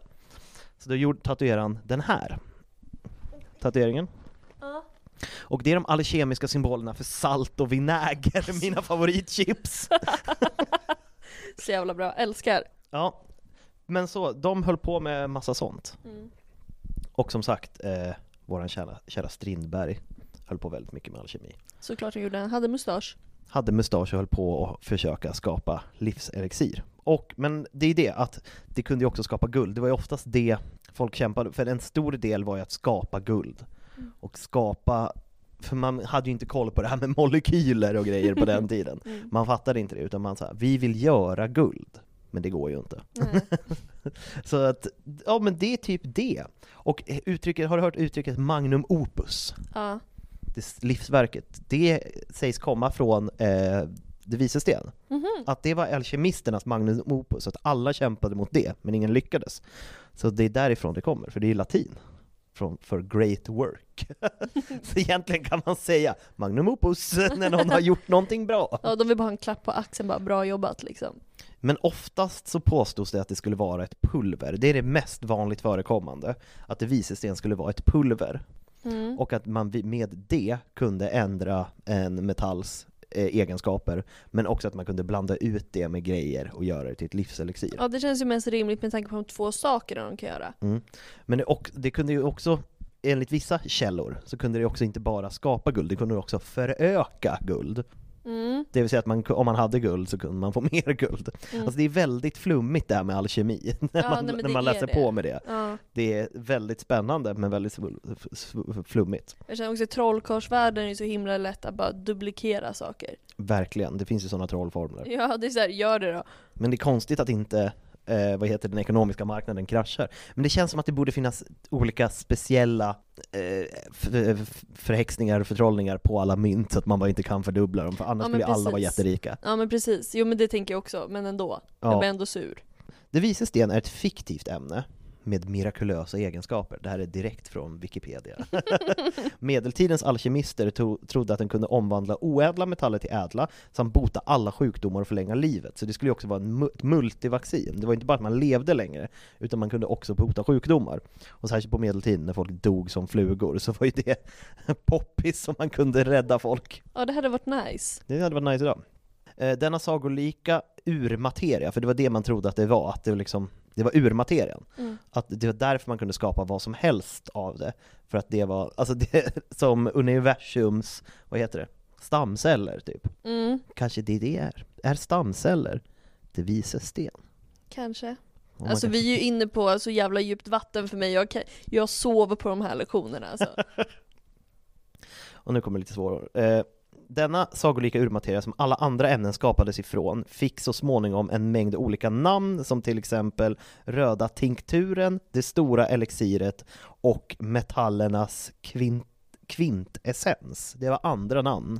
Så då gjorde, tatuerade han den här tatueringen. Och det är de alkemiska symbolerna för salt och vinäger, mina favoritchips.
Så jävla bra, älskar.
Ja, men så, de höll på med massa sånt. Och som sagt, eh, våran kära, kära Strindberg höll på väldigt mycket med alkemi.
Såklart han gjorde, han hade mustasch.
hade mustasch och höll på att försöka skapa livselixir. Och, men det är det att det kunde ju också skapa guld, det var ju oftast det folk kämpade för en stor del var ju att skapa guld. Och skapa, för man hade ju inte koll på det här med molekyler och grejer på den tiden. Man fattade inte det, utan man sa vi vill göra guld. Men det går ju inte. Så att, ja men det är typ det. Och uttrycket, har du hört uttrycket magnum opus?
Ja.
det livsverket, det sägs komma från eh, De vises sten. Att det var alkemisternas magnum opus, att alla kämpade mot det, men ingen lyckades. Så det är därifrån det kommer, för det är latin. Från, för great work. så egentligen kan man säga magnum opus när någon har gjort någonting bra.
ja, de vill bara ha en klapp på axeln bara, bra jobbat liksom.
Men oftast så påstods det att det skulle vara ett pulver. Det är det mest vanligt förekommande, att det visesten skulle vara ett pulver. Och att man vi- med det kunde ändra en metalls eh, egenskaper, men också att man kunde blanda ut det med grejer och göra det till ett livselixir.
Ja det känns ju mest rimligt med tanke på de två sakerna de kan göra.
Mm. Men det, och, det kunde ju också, enligt vissa källor, så kunde det också inte bara skapa guld, det kunde också föröka guld.
Mm.
Det vill säga att man, om man hade guld så kunde man få mer guld. Alltså det är väldigt flummigt det här med alkemi, när
Ja,
man,
nej, men
när
det
man
är
läser
det.
på med det.
Ja.
Det är väldigt spännande men väldigt svul- f- sv- flummigt.
Jag känner också att trollkarlsvärlden är ju så himla lätt att bara duplikera saker.
Verkligen, det finns ju sådana trollformler.
Ja det är såhär, gör det då.
Men det är konstigt att inte eh, vad heter det, den ekonomiska marknaden kraschar. Men det känns som att det borde finnas olika speciella eh, f- f- förhäxningar och förtrollningar på alla mynt så att man bara inte kan fördubbla dem för annars
Ja, men
skulle ju alla vara
precis.
jätterika.
Ja men precis, jo men det tänker jag också, men ändå.
Ja.
Jag blir ändå sur.
Det vises sten är ett fiktivt ämne med mirakulösa egenskaper. Det här är direkt från Wikipedia. Medeltidens alkemister to- trodde att den kunde omvandla oädla metaller till ädla samt bota alla sjukdomar och förlänga livet. Så det skulle ju också vara en mu- ett multivaccin. Det var inte bara att man levde längre, utan man kunde också bota sjukdomar. Och särskilt på medeltiden när folk dog som flugor så var ju det poppis som man kunde rädda folk.
Ja det hade varit nice.
Det hade varit nice idag. Eh, Denna sagolika urmateria, för det var det man trodde att det var, att det var, liksom, det var urmaterian. Att det var därför man kunde skapa vad som helst av det. För att det var, alltså det, som universums, vad heter det, stamceller typ. Kanske det det är. Är stamceller det vises sten?
Kanske.
Oh my
alltså
God.
vi är ju inne på så jävla djupt vatten för mig, jag, kan, jag sover på de här lektionerna alltså.
Och nu kommer lite svårare. Eh, denna sagolika urmateria som alla andra ämnen skapades ifrån fick så småningom en mängd olika namn som till exempel röda tinkturen, det stora elixiret och metallernas kvint, kvintessens. Det var andra namn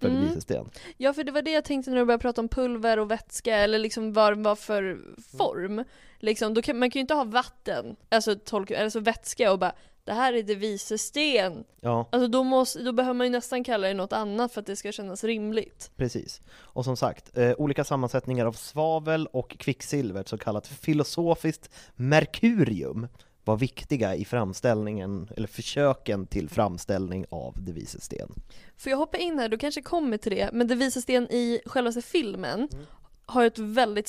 för mm. visesten.
Ja för det var det jag tänkte när du började prata om pulver och vätska eller liksom vad den var för form. Liksom, då kan, man kan ju inte ha vatten, alltså, tolk, alltså vätska och bara det här är det vises sten.
Ja,
Alltså då, måste, då behöver man ju nästan kalla det något annat för att det ska kännas rimligt.
precis. Och som sagt, eh, olika sammansättningar av svavel och kvicksilver, så kallat filosofiskt merkurium, var viktiga i framställningen, eller försöken till framställning av det vises sten.
Får jag hoppa in här, du kanske kommer till det, men det visar sten i självaste filmen har ju ett väldigt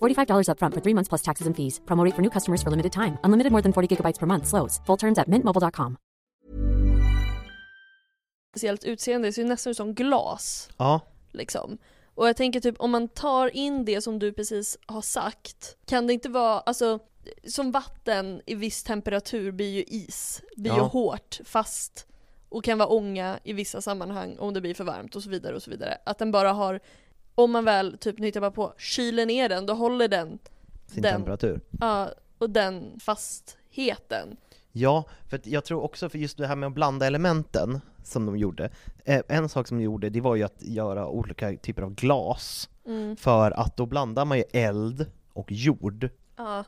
$45 upfront for three months plus taxes and fees. Promo rate for new customers for limited time. Unlimited more than 40 gigabytes per month. Slows. Full terms at mintmobile.com.
speciellt utseende, det ser ju nästan ut som glas.
Ja.
Liksom. Och jag tänker typ om man tar in det som du precis har sagt, kan det inte vara, alltså som vatten i viss temperatur blir ju is, blir ju
Ja.
hårt, fast och kan vara ånga i vissa sammanhang om det blir för varmt och så vidare och så vidare. Att den bara har, om man väl typ, nu hittar jag bara på, kyler ner den, då håller den
Sin
den,
temperatur.
Ja, och den fastheten.
Ja, för att jag tror också för just det här med att blanda elementen som de gjorde. Eh, En sak som de gjorde, det var ju att göra olika typer av glas.
Mm.
För att då blandar man ju eld och jord
Ja.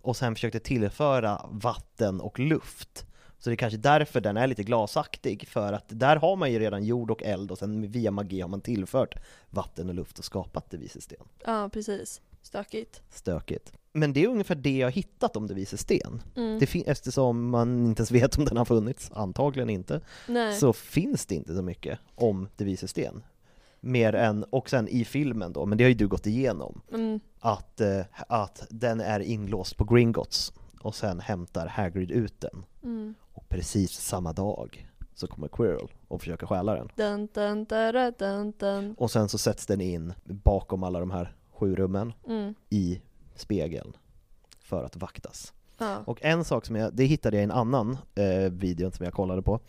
och sen försökte tillföra vatten och luft. Så det är kanske därför den är lite glasaktig, för att där har man ju redan jord och eld och sen via magi har man tillfört vatten och luft och skapat det vises sten.
Ja, precis. Stökigt.
Stökigt. Men det är ungefär det jag har hittat om det vises sten.
Mm.
Det fin- eftersom man inte ens vet om den har funnits, antagligen inte,
Nej.
så finns det inte så mycket om det vises sten. Mer än, och sen i filmen då, men det har ju du gått igenom
Mm.
att, eh, att den är inlåst på Gringotts och sen hämtar Hagrid ut den.
Mm.
Och precis samma dag så kommer Quirrell och försöker stjäla den.
Dun, dun, dun, dun, dun.
Och sen så sätts den in bakom alla de här sju rummen
Mm.
i spegeln för att vaktas.
Ja.
Och en sak som jag, det hittade jag i en annan eh, video som jag kollade på,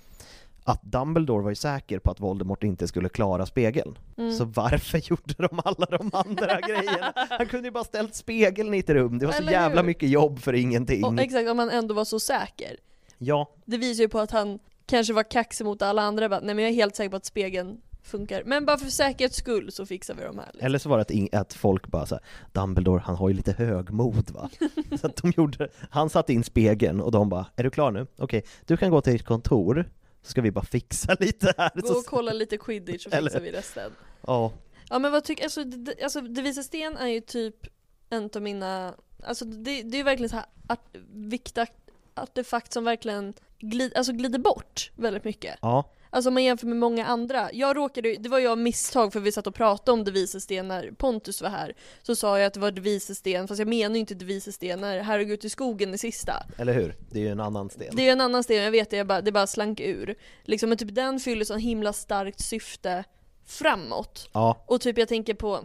att Dumbledore var ju säker på att Voldemort inte skulle klara spegeln.
Mm.
Så varför gjorde de alla de andra grejerna? Han kunde ju bara ställt spegeln i ett rum, det var så
Eller
jävla
hur?
mycket jobb för ingenting.
Och, exakt, om han ändå var så säker.
ja,
Det visar ju på att han kanske var kaxig mot alla andra bara, nej men jag är helt säker på att spegeln funkar. Men bara för säkerhets skull så fixar vi de här. liksom.
eller så var det att, ing- att folk bara såhär, Dumbledore han har ju lite högmod va? Så att de gjorde, han satte in spegeln och de bara, är du klar nu? Okej, du kan gå till ditt kontor, så ska vi bara fixa lite här.
Gå
Så,
och kolla lite quidditch så
Eller-
fixar vi resten.
ja,
Ja men vad tycker, alltså, det- alltså Det visar sten är ju typ en av mina, alltså det, det är ju verkligen så här art, viktiga artefakt som verkligen glid, alltså glider bort väldigt mycket.
ja,
Alltså om man jämför med många andra. Jag råkade ju- det var jag av misstag för vi satt och pratade om devisesten när Pontus var här. Så sa jag att det var devisesten, fast jag menar ju inte devisesten när Herregud ut i skogen är sista.
eller hur? Det är ju en annan sten.
Det är ju en annan sten, jag vet det, jag bara, det bara slank ur. Liksom, men typ den fyller så himla starkt syfte framåt.
Ja,
Och typ jag tänker på,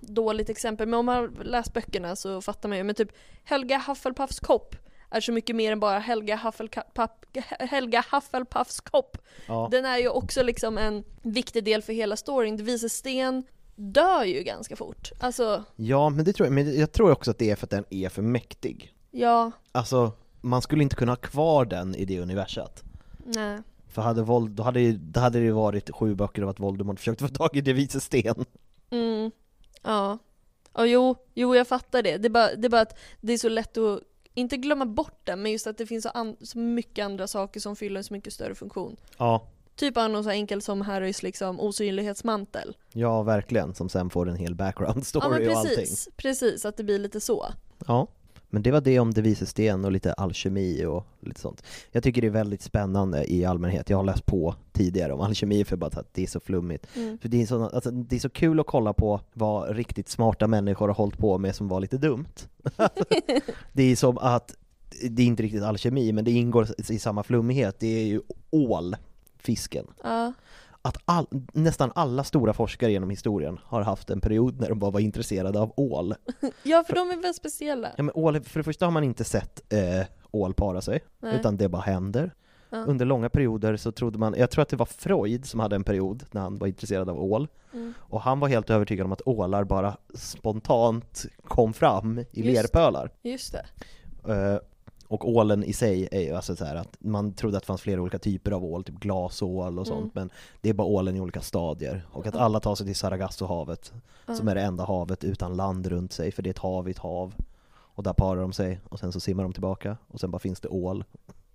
dåligt exempel, men om man har läst böckerna så fattar man ju. Men typ Helga Hufflepuffs kopp är så mycket mer än bara Helga, Hufflepuff, Helga Hufflepuffs kopp.
ja.
Den är ju också liksom en viktig del för hela storyn. Det visar Sten dör ju ganska fort. Alltså,
Ja, men det tror jag. Men jag tror också att det är för att den är för mäktig.
ja,
Alltså, man skulle inte kunna ha kvar den i det universet.
nej.
För hade Vold, då, hade, ju- då hade det ju varit sju böcker av att Voldemort försökte få tag i de vises sten.
Mm, ja. Ja, jo, jo, jag fattar det. Det är, bara, det är bara att det är så lätt att, inte glömma bort den, men just att det finns så, an- så mycket andra saker som fyller en så mycket större funktion.
Ja,
Typ av något så enkelt som Harrys liksom osynlighetsmantel.
ja verkligen. Som sen får en hel background
ja, men
story och allting.
precis, precis, att det blir lite så.
Ja. Men det var det om de vises sten och lite alkemi och lite sånt. Jag tycker det är väldigt spännande i allmänhet. Jag har läst på tidigare om alkemi för bara att det är så flummigt.
Mm.
För det, är så, alltså, det är så kul att kolla på vad riktigt smarta människor har hållit på med som var lite dumt. det är som att, det är inte riktigt alkemi, men det ingår i samma flummighet. Det är ju ål, fisken.
Ja,
att all, nästan alla stora forskare genom historien har haft en period när de bara var intresserade av ål.
Ja, för de är väl speciella?
Ja, men ål, för det första har man inte sett eh, ål para sig,
Nej.
utan det bara händer.
Ja.
Under långa perioder så trodde man, jag tror att det var Freud som hade en period när han var intresserad av ål,
Mm.
och han var helt övertygad om att ålar bara spontant kom fram i
Just det.
lerpölar.
Just det.
Eh, och ålen i sig är ju alltså så här att man trodde att det fanns flera olika typer av ål, typ glasål och sånt,
Mm.
men det är bara ålen i olika stadier. Och att
Ja.
alla tar sig till Sargassohavet, som
Ja.
är det enda havet utan land runt sig, för det är ett hav i ett hav. Och där parar de sig, och sen så simmar de tillbaka, och sen bara finns det ål.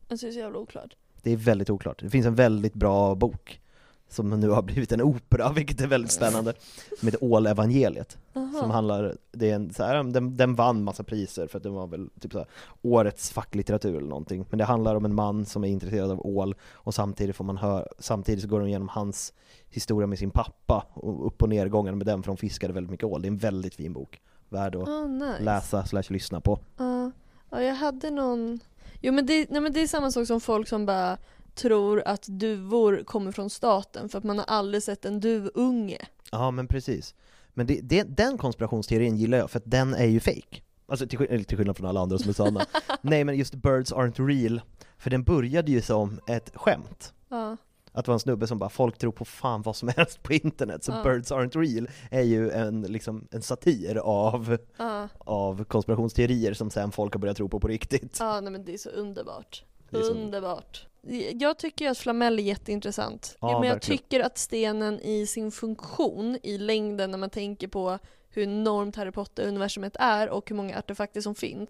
Alltså det är så jävla oklart.
Det är väldigt oklart. Det finns en väldigt bra bok, som nu har blivit en opera, vilket är väldigt spännande, som heter Ålevangeliet.
Aha.
Som handlar, det är en, så här, den, den vann massa priser för att den var väl typ så här, årets facklitteratur eller någonting. Men det handlar om en man som är intresserad av ål och samtidigt får man höra, samtidigt så går de igenom hans historia med sin pappa och upp och nedgången med den för de fiskade väldigt mycket ål. Det är en väldigt fin bok. Värd att
Ah, nice.
läsa slash lyssna på.
Ja, ja, jag hade någon... Jo men det, nej, men det är samma sak som folk som bara tror att duvor kommer från staten för att man har aldrig sett en duvunge.
Ja men precis. Men det, det, den konspirationsteorin gillar jag för att den är ju fake. Alltså till, skill- eller till skillnad från alla andra som är sanna. Nej men just birds aren't real, för den började ju som ett skämt.
Ja.
Att det var en snubbe som bara, folk tror på fan vad som helst på internet, så
Ja.
birds aren't real är ju en, liksom, en satir av,
Ja,
av konspirationsteorier som sen folk har börjat tro på på riktigt.
ja nej men det är så underbart.
Det är så-
Underbart. Jag tycker ju att flamell är jätteintressant.
Ja,
Jo, men jag
verkligen.
tycker att stenen i sin funktion i längden när man tänker på hur enormt Harry Potter-universumet är och hur många artefakter som finns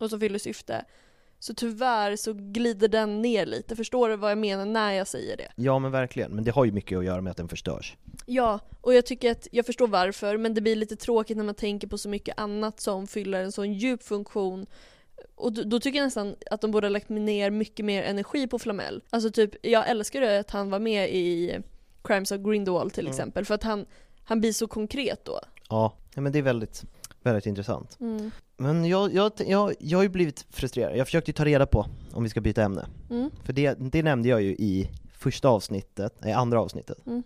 och som fyller syfte. Så tyvärr så glider den ner lite. Förstår du vad jag menar när jag säger det?
Ja men verkligen, men det har ju mycket att göra med att den förstörs.
Ja, och jag tycker att jag förstår varför, men det blir lite tråkigt när man tänker på så mycket annat som fyller en sån djup funktion. Och då, då tycker jag nästan att de borde ha lagt ner mycket mer energi på Flamel. Alltså typ, jag älskar ju att han var med i Crimes of Grindelwald till
Mm.
exempel, för att han, han blir så konkret då.
Ja, ja, men det är väldigt, väldigt intressant.
Mm.
Men jag, jag, jag, jag har ju blivit frustrerad, jag försökte ju ta reda på om vi ska byta ämne.
Mm.
För det, det nämnde jag ju i första avsnittet, nej andra avsnittet.
Mm.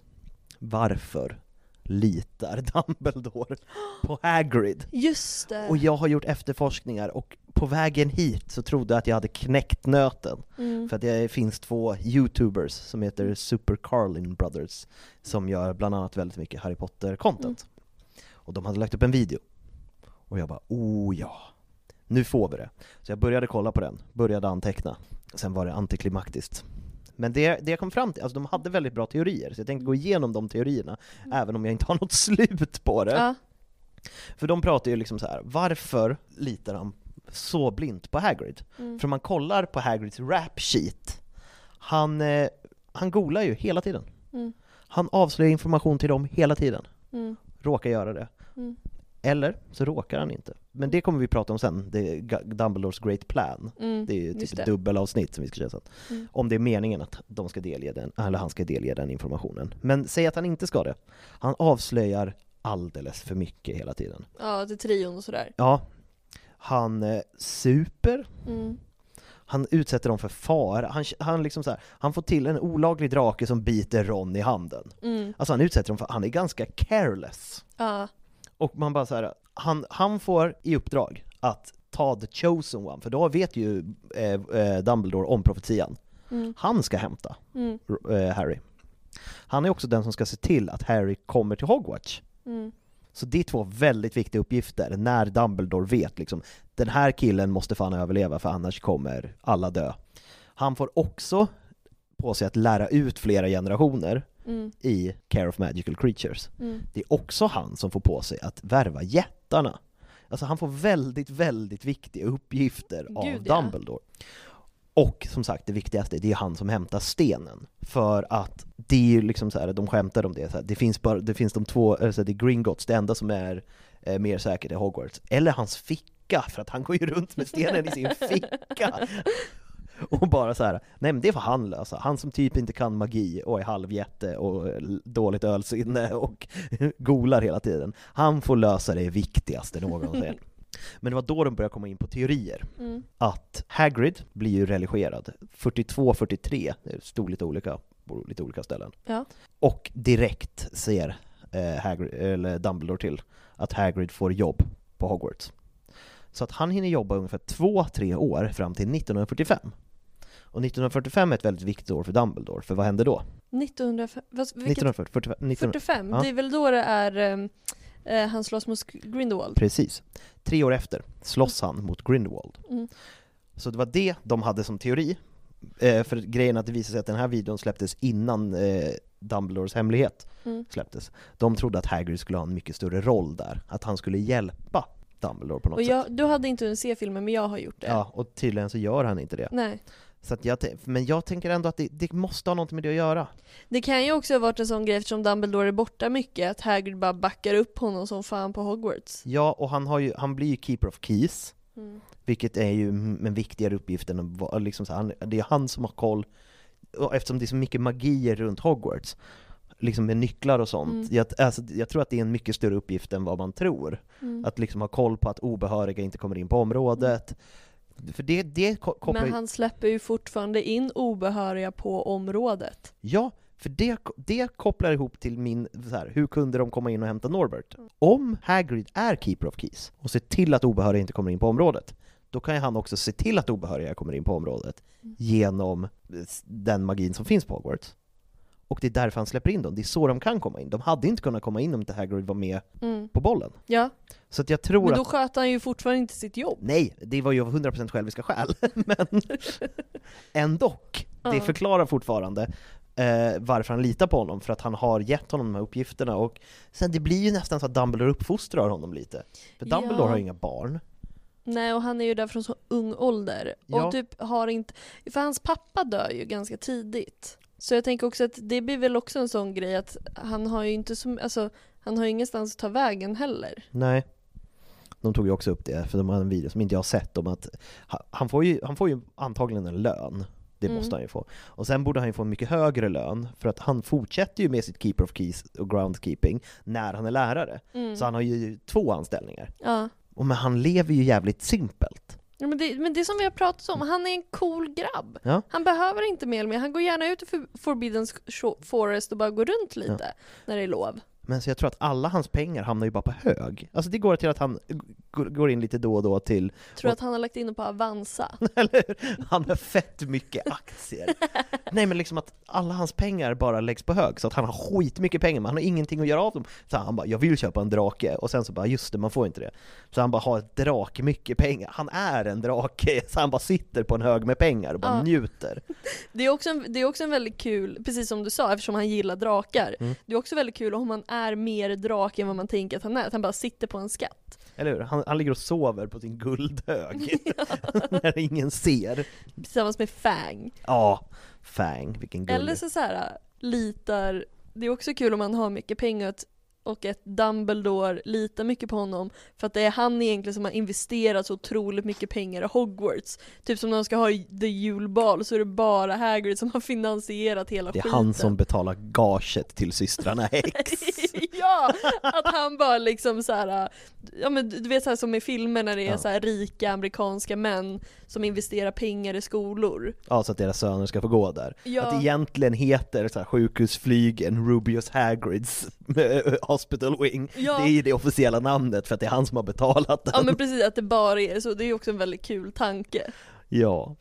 Varför litar Dumbledore på Hagrid?
Just det!
Och jag har gjort efterforskningar och på vägen hit så trodde jag att jag hade knäckt nöten.
Mm.
För att det finns två youtubers som heter Super Carlin Brothers som gör bland annat väldigt mycket Harry
Mm.
Potter-content. Och de hade lagt upp en video. Och jag bara oh ja, nu får vi det. Så jag började kolla på den, började anteckna. Sen var det antiklimaktiskt. Men det, det jag kom fram till, alltså de hade väldigt bra teorier, så jag tänkte gå igenom de teorierna, även om jag inte har något slut på det.
Mm. Ja.
För de pratar ju liksom så här. varför litar han så blint på Hagrid?
Mm.
För om man kollar på Hagrids rap sheet, han, eh, han golar ju hela tiden.
Mm.
Han avslöjar information till dem hela tiden.
Mm.
Råkar göra det.
Mm.
Eller så råkar han inte. Men det kommer vi prata om sen, det är Ga- Dumbledores Great Plan.
Mm,
Det är ju
just
typ
det.
ett dubbelavsnitt som vi ska köra sen.
Mm.
Om det är meningen att de ska delge den, eller han ska delge den informationen. Men säg att han inte ska det. Han avslöjar alldeles för mycket hela tiden.
Ja, till trion och sådär.
Ja, han eh, super,
Mm.
han utsätter dem för fara, han, han, liksom så här, han får till en olaglig drake som biter Ron i handen.
Mm.
Alltså han utsätter dem för, han är ganska careless.
Ja.
Och man bara så här, han, han får i uppdrag att ta the chosen one, för då vet ju eh, eh, Dumbledore om profetian.
Mm.
Han ska hämta
Mm.
r- eh, Harry. Han är också den som ska se till att Harry kommer till Hogwarts.
Mm.
Så det är två väldigt viktiga uppgifter när Dumbledore vet liksom, den här killen måste fan överleva för annars kommer alla dö. Han får också på sig att lära ut flera generationer
Mm.
i Care of Magical Creatures.
Mm.
Det är också han som får på sig att värva jättarna. Alltså han får väldigt, väldigt viktiga uppgifter av
Gud, ja.
Dumbledore. Och som sagt, det viktigaste, det är han som hämtar stenen. För att det är ju liksom så här, de skämtar om det, så här, det, finns bara, det finns de två, alltså det är Gringotts, det enda som är eh, mer säkert är Hogwarts. Eller hans ficka, för att han går ju runt med stenen i sin ficka. Och bara så här, nej men det får han lösa. Han som typ inte kan magi och är halvjätte och l- dåligt ölsinne och golar hela tiden. Han får lösa det viktigaste någonsin. Men det var då de började komma in på teorier.
Mm.
Att Hagrid blir ju religerad. 42-43, det stod lite olika på lite olika ställen.
Ja.
Och direkt ser eh, Hagrid, eller Dumbledore till att Hagrid får jobb på Hogwarts. Så att han hinner jobba ungefär två, tre år fram till 1945. Och 1945 är ett väldigt viktigt år för Dumbledore, för vad händer då?
1945, vad- vilket-
1945?
45?
Ja.
Det är väl då det är ehm, eh, han slåss mot Grindelwald?
Precis. Tre år efter slåss han mot Grindelwald.
Mm.
Så det var det de hade som teori. Eh, för grejen att det visade sig att den här videon släpptes innan eh, Dumbledores hemlighet
Mm.
släpptes. De trodde att Hagrid skulle ha en mycket större roll där, att han skulle hjälpa Dumbledore på något
Och
sätt.
jag, du hade inte hunnit se filmen men jag har gjort det.
Ja, och tydligen så gör han inte det.
Nej.
Så att jag, tän- men jag tänker ändå att det, det måste ha något med det att göra.
Det kan ju också ha varit en sån grej eftersom Dumbledore är borta mycket, att Hagrid bara backar upp honom som fan på Hogwarts.
Ja, och han, har ju, han blir ju keeper of keys,
Mm.
vilket är ju m- en viktigare uppgift än att vara liksom så här, han, det är han som har koll, och eftersom det är så mycket magier runt Hogwarts, liksom med nycklar och sånt.
Mm.
Jag, alltså, jag tror att det är en mycket större uppgift än vad man tror.
Mm.
Att liksom ha koll på att obehöriga inte kommer in på området. För det, det ko- kopplar
Mm. Men
ju-
han släpper ju fortfarande in obehöriga på området.
Ja, för det, det kopplar ihop till min, så här, hur kunde de komma in och hämta Norbert? Om Hagrid är Keeper of Keys och ser till att obehöriga inte kommer in på området, då kan ju han också se till att obehöriga kommer in på området
Mm.
genom eh, s- den magin som finns på Hogwarts. Och det är därför han släpper in dem, det är så de kan komma in. De hade inte kunnat komma in om inte Hagrid var med
Mm.
på bollen.
Ja,
Så att jag tror
men då
att...
sköter han ju fortfarande inte sitt jobb.
Nej, det var ju av 100% själviska skäl, men ändå. Det
Ja.
förklarar fortfarande eh, varför han litar på honom, för att han har gett honom de här uppgifterna och sen det blir ju nästan så att Dumbledore uppfostrar honom lite. För Dumbledore
Ja.
har ju inga barn.
Nej, och han är ju där från så ung ålder.
Ja.
Och typ har inte... För hans pappa dör ju ganska tidigt. Så jag tänker också att det blir väl också en sån grej att han har ju inte som... Alltså, han har ju ingenstans att ta vägen heller.
Nej. De tog ju också upp det, för de hade en video som inte jag har sett om att ha- han får ju, han får ju antagligen en lön. Det
Mm.
måste han ju få. Och sen borde han ju få en mycket högre lön, för att han fortsätter ju med sitt Keeper of Keys och Groundkeeping när han är lärare.
Mm.
Så han har ju två anställningar.
Ja.
Och men han lever ju jävligt simpelt.
Ja, Men det, men det är som vi har pratat om, han är en cool grabb.
Ja.
Han behöver inte mer eller mer. Han går gärna ut i For- Forbidden Sh- Forest och bara går runt lite när det är lov.
Men så jag tror att alla hans pengar hamnar ju bara på hög. Alltså det går till att han g- går in lite då och då till,
Tror att han har lagt in det på Avanza.
eller hur? Han har fett mycket aktier. Nej men liksom att alla hans pengar bara läggs på hög, så att han har skitmycket pengar men han har ingenting att göra av dem. Så han bara 'Jag vill köpa en drake' och sen så bara 'Just det, man får inte det' Så han bara har ett drak mycket pengar. Han är en drake, så han bara sitter på en hög med pengar och bara
Ja.
njuter.
Det är, också en, det är också en väldigt kul, precis som du sa, eftersom han gillar drakar.
Mm.
Det är också väldigt kul om man är mer drake än vad man tänker att han är. Att han bara sitter på en skatt.
Eller hur? Han, han ligger och sover på sin guldhög när ingen ser.
Tillsammans med Fang.
Ja, Fang, vilken gullig.
Eller så, så här, äh, litar, det är också kul om man har mycket pengar att- och att Dumbledore litar mycket på honom för att det är han egentligen som har investerat så otroligt mycket pengar i Hogwarts. Typ som när de ska ha the julbal så är det bara Hagrid som har finansierat hela
det är
skiten.
han som betalar gaget till systrarna Häx.
ja! Att han bara liksom så här, ja men du du vet så här som i filmer när det är
Ja.
så här rika amerikanska män som investerar pengar i skolor.
Ja, så att deras söner ska få gå där.
Ja.
Att det egentligen heter så här, sjukhusflygen Rubius Hagrids Hospital Wing.
Ja.
Det är ju det officiella namnet för att det är han som har betalat den.
Ja men precis, att det bara är så. Det är ju också en väldigt kul tanke.
Ja.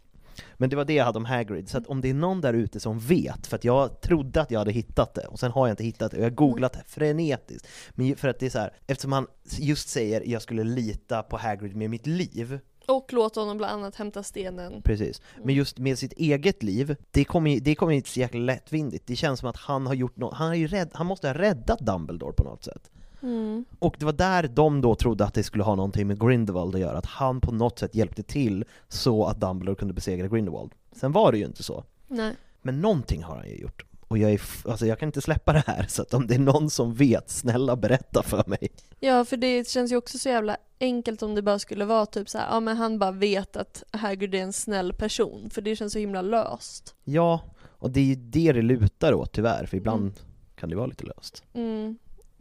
Men det var det jag hade om Hagrid, så att om det är någon där ute som vet, för att jag trodde att jag hade hittat det, och sen har jag inte hittat det, och jag har googlat det frenetiskt. Men ju- för att det är så här, eftersom han just säger jag skulle lita på Hagrid med mitt liv,
Och låta honom bland annat hämta stenen.
precis,
Mm.
men just med sitt eget liv, det kommer ju, det kommer ju inte så jäkla lättvindigt. Det känns som att han har gjort något, han, är ju rädd, han måste ha räddat Dumbledore på något sätt.
Mm.
Och det var där de då trodde att det skulle ha någonting med Grindelwald att göra, att han på något sätt hjälpte till så att Dumbledore kunde besegra Grindelwald. Sen var det ju inte så.
Nej.
Men någonting har han ju gjort. Och jag, är, f- alltså jag kan inte släppa det här, så att om det är någon som vet, snälla berätta för mig.
Ja, för det känns ju också så jävla enkelt om det bara skulle vara typ så här, ja men han bara vet att Hagrid är en snäll person, för det känns så himla löst.
Ja, och det är ju det det lutar åt tyvärr, för ibland
Mm.
kan det vara lite löst.
Mm.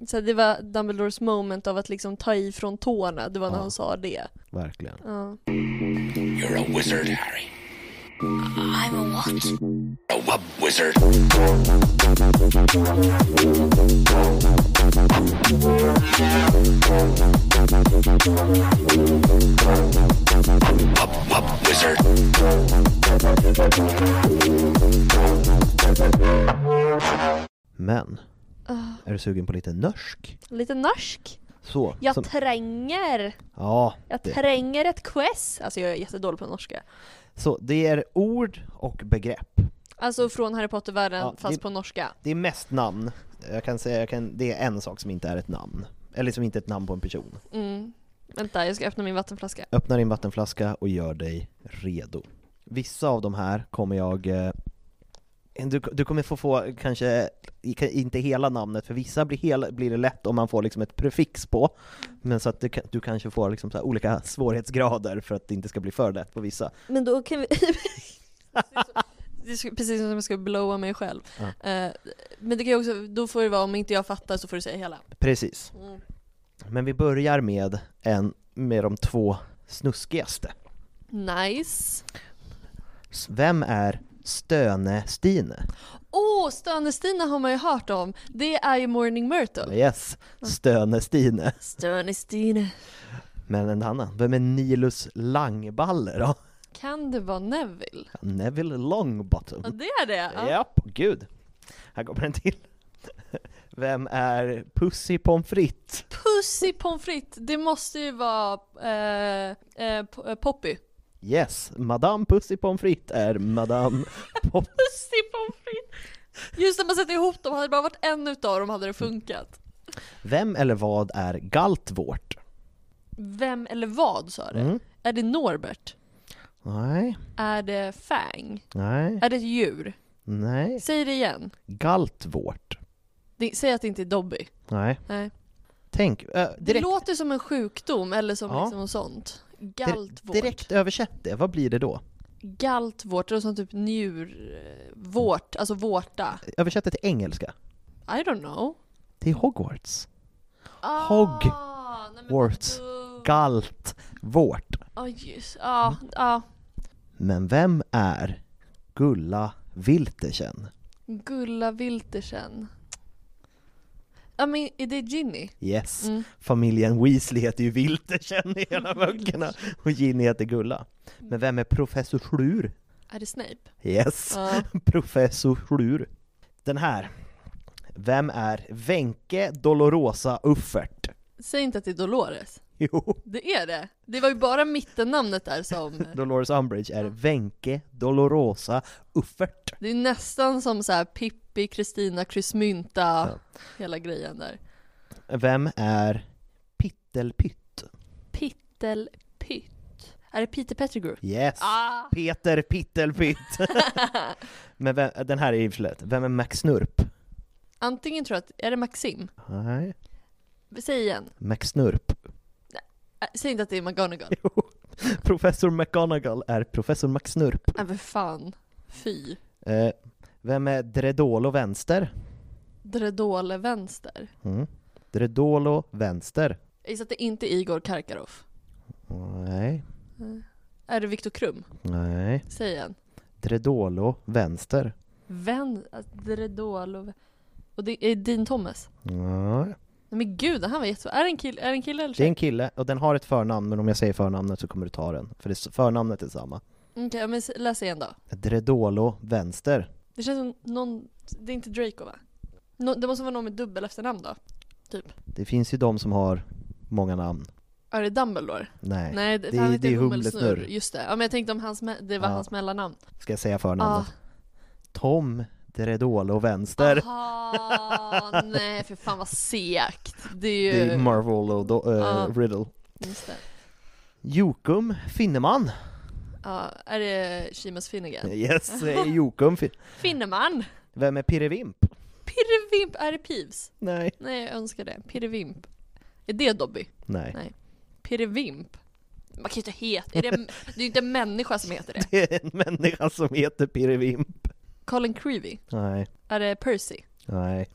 Så det var Dumbledores moment av att liksom ta i från tårna, det var när
Ja.
han sa det.
Verkligen.
Ja.
You're a wizard, Harry. I'm a what? A wub wizard. Wub wub wizard.
Men,
Ah.
är du sugen på lite nörsk?
Lite norsk.
Så.
Jag
som-
tränger!
ja,
Jag
det.
tränger ett quest! Alltså jag är jättedålig på norska.
Så det är ord och begrepp.
Alltså från Harry Potter-världen
Ja,
fast
det-
på norska.
Det är mest namn. Jag kan säga, jag kan, det är en sak som inte är ett namn. Eller som inte är ett namn på en person.
Mm. Vänta, jag ska öppna min vattenflaska.
Öppna din vattenflaska och gör dig redo. Vissa av de här kommer jag... eh, Du, du kommer få, få kanske i- inte hela namnet, för vissa blir, hela, blir det lätt om man får liksom ett prefix på. Men så att du, kan- du kanske får liksom så här olika svårighetsgrader för att det inte ska bli för lätt på vissa.
Men då kan vi... Det är så- precis som om jag ska blowa mig själv.
Ja.
Eh, men det kan ju också, då får det vara om inte jag fattar så får du säga hela.
Precis.
Mm.
Men vi börjar med, en, med de två snuskigaste.
Nice.
S- Vem är Stöne-Stine?
Åh, oh, Stöne-Stina har man ju hört om. Det är ju Morning Myrtle.
Yes,
Mm.
Stöne-Stine.
Stöne-Stine.
Men en annan, vem är Nilus Langballe då?
Kan det vara Neville?
Neville Longbottom.
Ja, det är det. Ja.
Japp, gud. Här kommer en till. Vem är Pussy Pommes frites?
Pussy pommes frites, det måste ju vara eh, eh, P- eh, Poppy.
Yes, Madame Pussy Pommes frites är Madame Pop...
Pussy pommes frites! Just när man sätter ihop dem, hade det bara varit en utav dem hade det funkat.
Vem eller vad är Galtvårt?
Vem eller vad sa du?
Mm.
Är det Norbert?
Nej,
Är det Fang?
nej,
Är det ett djur?
nej.
Säg det igen.
Galtvårt.
Det, säg att det inte är Dobby.
Nej.
Nej.
Tänk, äh,
Det
direkt,
låter som en sjukdom eller som
Ja.
liksom något sånt.
dir-
Galtvård.
direkt översätt det, vad blir det då?
Galtvård, det är som typ njurvårt, alltså vårta.
Översätt det till engelska.
I don't know.
Det är Hogwarts.
Ah,
Hog.
nej men
Warts.
vadå?
Galtvårt.
Ja, just. ah, Ja, ja.
Men vem är Gulla Wiltersen?
Gulla Wiltersen. Ja men är det Ginny?
Yes.
Mm.
Familjen Weasley heter ju Wiltersen i hela böckerna och Ginny heter Gulla. Men vem är professor Schlur?
Är det Snape?
Yes.
Ja.
Professor Schlur. Den här. Vem är Wenche Dolorosa Uffert?
Säg inte att det är Dolores.
Jo,
Det är det. Det var ju bara mittennamnet där som...
Dolores Umbridge är Wenche Dolorosa Uffert.
Det är nästan som så här Pippi, Kristina, Kryssmynta,
Ja.
hela grejen där.
Vem är Pittelpytt?
Pittelpytt. Är det Peter Pettigrew?
Yes.
Ah!
Peter Pittelpytt. Men vem, den här är ju för lätt. Vem är Max Snurp?
Antingen tror jag att, är det Maxim?
Nej.
Säg igen.
Max Snurp.
Äh, Säg inte att det är McGonagall.
Professor McGonagall är professor Max Snurp.
Nej men Äh, fan. Fy.
Eh, vem är Dredolo Vänster?
Dredole vänster.
Mm. Dredolo Vänster.
Jag gissar att det inte är Igor Karkaroff.
Nej.
Är det Viktor Krum?
Nej.
Säg igen.
Dredolo Vänster.
Vän, alltså, Dredolov. Och det är Dean Thomas.
Nej.
Nej men gud, han var jättesvår. Är det en kille, är det en kille eller
Det är
tjej?
en kille och den har ett förnamn men om jag säger förnamnet så kommer du ta den. För det är förnamnet är samma.
Okej, men s- läs igen då.
Dredolo Vänster.
Det känns som någon, det är inte Draco va? Nå- det måste vara någon med dubbel efternamn då?
Det finns ju de som har många namn.
Är det Dumbledore?
Nej.
Nej, det,
det är-
han heter
det är
Humlesnurr.
Humlesnurr.
Just det. Ja men jag tänkte om hans, me- det var
Ja.
hans mellannamn.
Ska jag säga förnamnet?
Ah.
Tom Dredolo Vänster.
Aha, nej för fan vad segt. Det är ju...
Det är Marvel och do, eh,
Ja.
Riddle.
Just det.
Jokum Finneman.
Ja, är det Seamus Finnegan?
Yes, det är Jokum fin-
Finneman!
Vem är Pirre Vimp?
Pirrevimp, är det Peeves?
Nej.
Nej jag önskar det. Pirrevimp. Är det Dobby?
Nej.
Nej. Pirrevimp? Man kan ju inte heta, är det, det är ju inte en människa som heter det.
Det är en människa som heter Pirre Vimp.
Colin Creevy?
Nej.
Är det Percy?
Nej.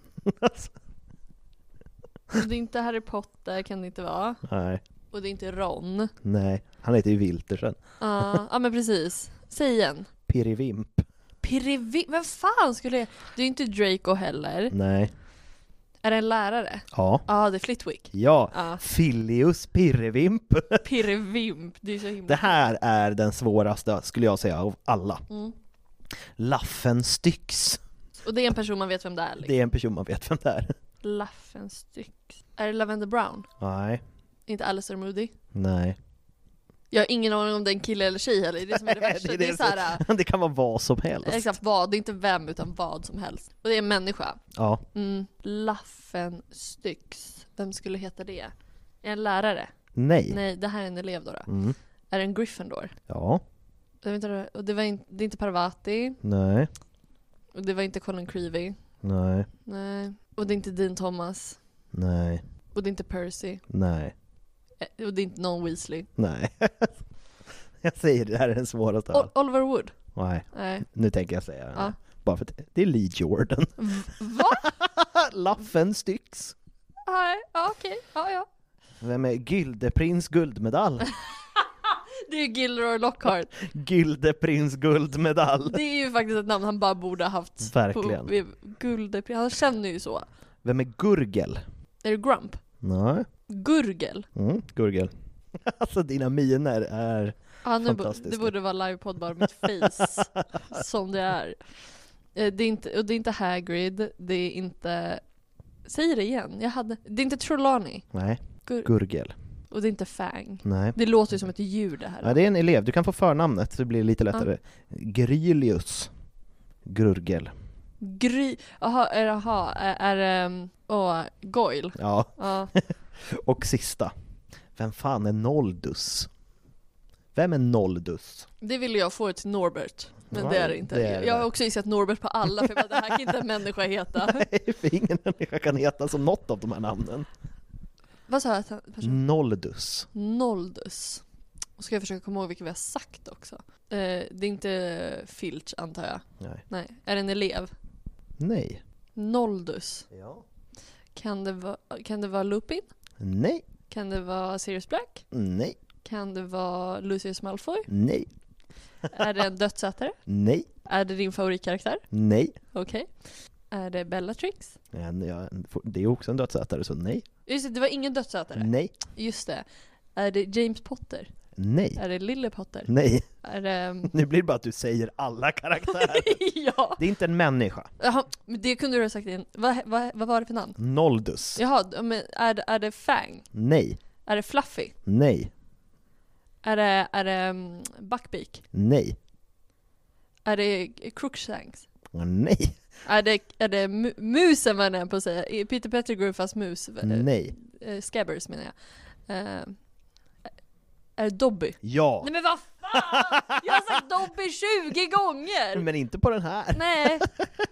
Om det är inte Harry Potter kan det inte vara.
Nej.
Och det är inte Ron.
Nej. Han heter ju Wiltersen.
Ja, ja men precis. Säg igen.
Pirre Vimp.
Privi... Vem fan skulle jag... Det är ju inte Draco heller.
Nej.
Är det en lärare?
Ja.
Ja, det är Flitwick.
Ja.
Ja.
Filius Pirrevimp.
Pirrevimp, det är så himla...
Det här är den svåraste, skulle jag säga, av alla.
Mm.
Laffenstyx.
Och det är en person man vet vem det är liksom.
Det är en person man vet vem det är.
Laffenstyx. Är det Lavender Brown?
Nej,
Inte Alistair Moody?
nej.
Jag har ingen aning om det är en kille eller tjej heller, det är det som är det värsta. det är, så här, äh,
det kan vara vad som helst.
exakt vad, det är inte vem utan vad som helst. Och det är en människa.
Ja.
Mm. Laffenstyx. Vem skulle heta det? Är det en lärare?
Nej.
Nej, det här är en elev då. då.
Mm.
Är det en Gryffindor?
Ja.
Det, var inte, och det, var in, det är inte Parvati,
Nej.
och det var inte Colin Creevy.
Nej.
Nej. Och det är inte Dean Thomas.
Nej.
Och det är inte Percy.
Nej.
Eh, Och det är inte någon Weasley.
Nej. jag säger det här är den svåraste. av
O- Oliver Wood.
alla. Nej.
Nej.
Nu tänker jag säga den här.
Ja.
Bara för att det är Lee Jordan.
Va?
Laffenstyx.
Nej, ja, okej. Ja, ja.
Vem är Gyldeprins guldmedalj?
Det är ju Gilroy Lockhart.
Gyldeprins guldmedalj.
Det är ju faktiskt ett namn han bara borde ha haft.
Verkligen.
På, guld, han känner ju så.
Vem är Gurgel?
Är det Grump?
Nej.
Gurgel?
Mm, Gurgel. Alltså dina miner är...
Ja, nu bo,
Fantastiskt.
det borde vara livepodd bara mitt face som det är. Eh, Det är inte, och det är inte Hagrid, det är inte... Säg det igen, jag hade... Det är inte Trelawney.
Nej.
Gur-
Gurgel.
och det är inte Fang.
Nej.
Det låter ju som ett djur det här.
Ja, det är en elev. Du kan få förnamnet, så det blir lite lättare. Grylius Gurgel.
Gry... Jaha, är, aha, är, är um, Åh, Goyle.
Ja.
Ja.
Och sista. Vem fan är Noldus? Vem är Noldus?
Det ville jag få till Norbert, men
Nej,
det är det inte.
det är det.
jag har också gissat Norbert på alla, för jag bara, det här kan inte en människa heta.
Nej, för ingen människa kan heta som något av de här namnen.
Vad sa jag? att han- person-
Noldus.
Noldus. Och ska jag försöka komma ihåg vilka vi har sagt också. Eh, det är inte Filch antar jag.
Nej.
Nej. Är det en elev?
Nej.
Noldus.
Ja.
Kan det, va- kan det vara Lupin?
Nej.
Kan det vara Sirius Black?
Nej.
Kan det vara Lucius Malfoy?
Nej.
Är det en dödsätare?
Nej.
Är det din favoritkaraktär?
Nej.
Okej. Är det Bellatrix?
En- ja, en- Det är ju också en dödsätare, så nej.
Just det, det var ingen dödsätare.
Nej.
Just det. Är det James Potter?
Nej.
Är det Lille Potter?
Nej.
Är det... mm,
Nu blir det bara att du säger alla karaktärer.
ja!
Det är inte en människa.
Jaha, men det kunde du ha sagt in. Vad, vad, vad var det för namn?
Noldus.
Jaha, d- men är, det- är det Fang?
Nej.
Är det Fluffy?
Nej.
Är det, är det mm, Buckbeak?
Nej.
Är det Crookshanks?
Nej.
Är det, är det mu- musen var jag nära på att säga? I Peter Pettigrew fast mus? eh,
Nej.
eh, Scabbers menar jag. Eh, är det Dobby?
Ja.
Nej men vad fan! Jag har sagt Dobby 20 gånger!
Men inte på den här.
Nej,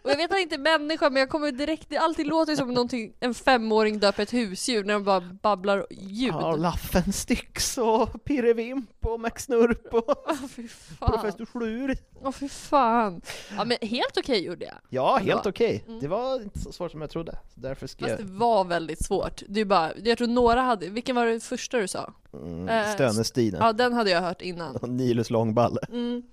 och jag vet att det inte är människa men jag kommer direkt, det alltid låter som någonting, en femåring döper ett husdjur när de bara babblar ljud.
Ja, Laffenstyx och Pirrevimp och Max Snurp och
Åh fy fan.
Professor Schlur.
Åh fy fan. Ja men helt okej gjorde jag.
Ja, helt
Bra.
okej. Det var inte så svårt som jag trodde. Så Därför skrev
Mm. Fast det
jag
var väldigt svårt. Det är bara, jag tror några hade, vilken var det första du sa?
mm,
eh,
Stönestinen
Ja den hade jag hört innan.
och Nilus Långballe.
Mm.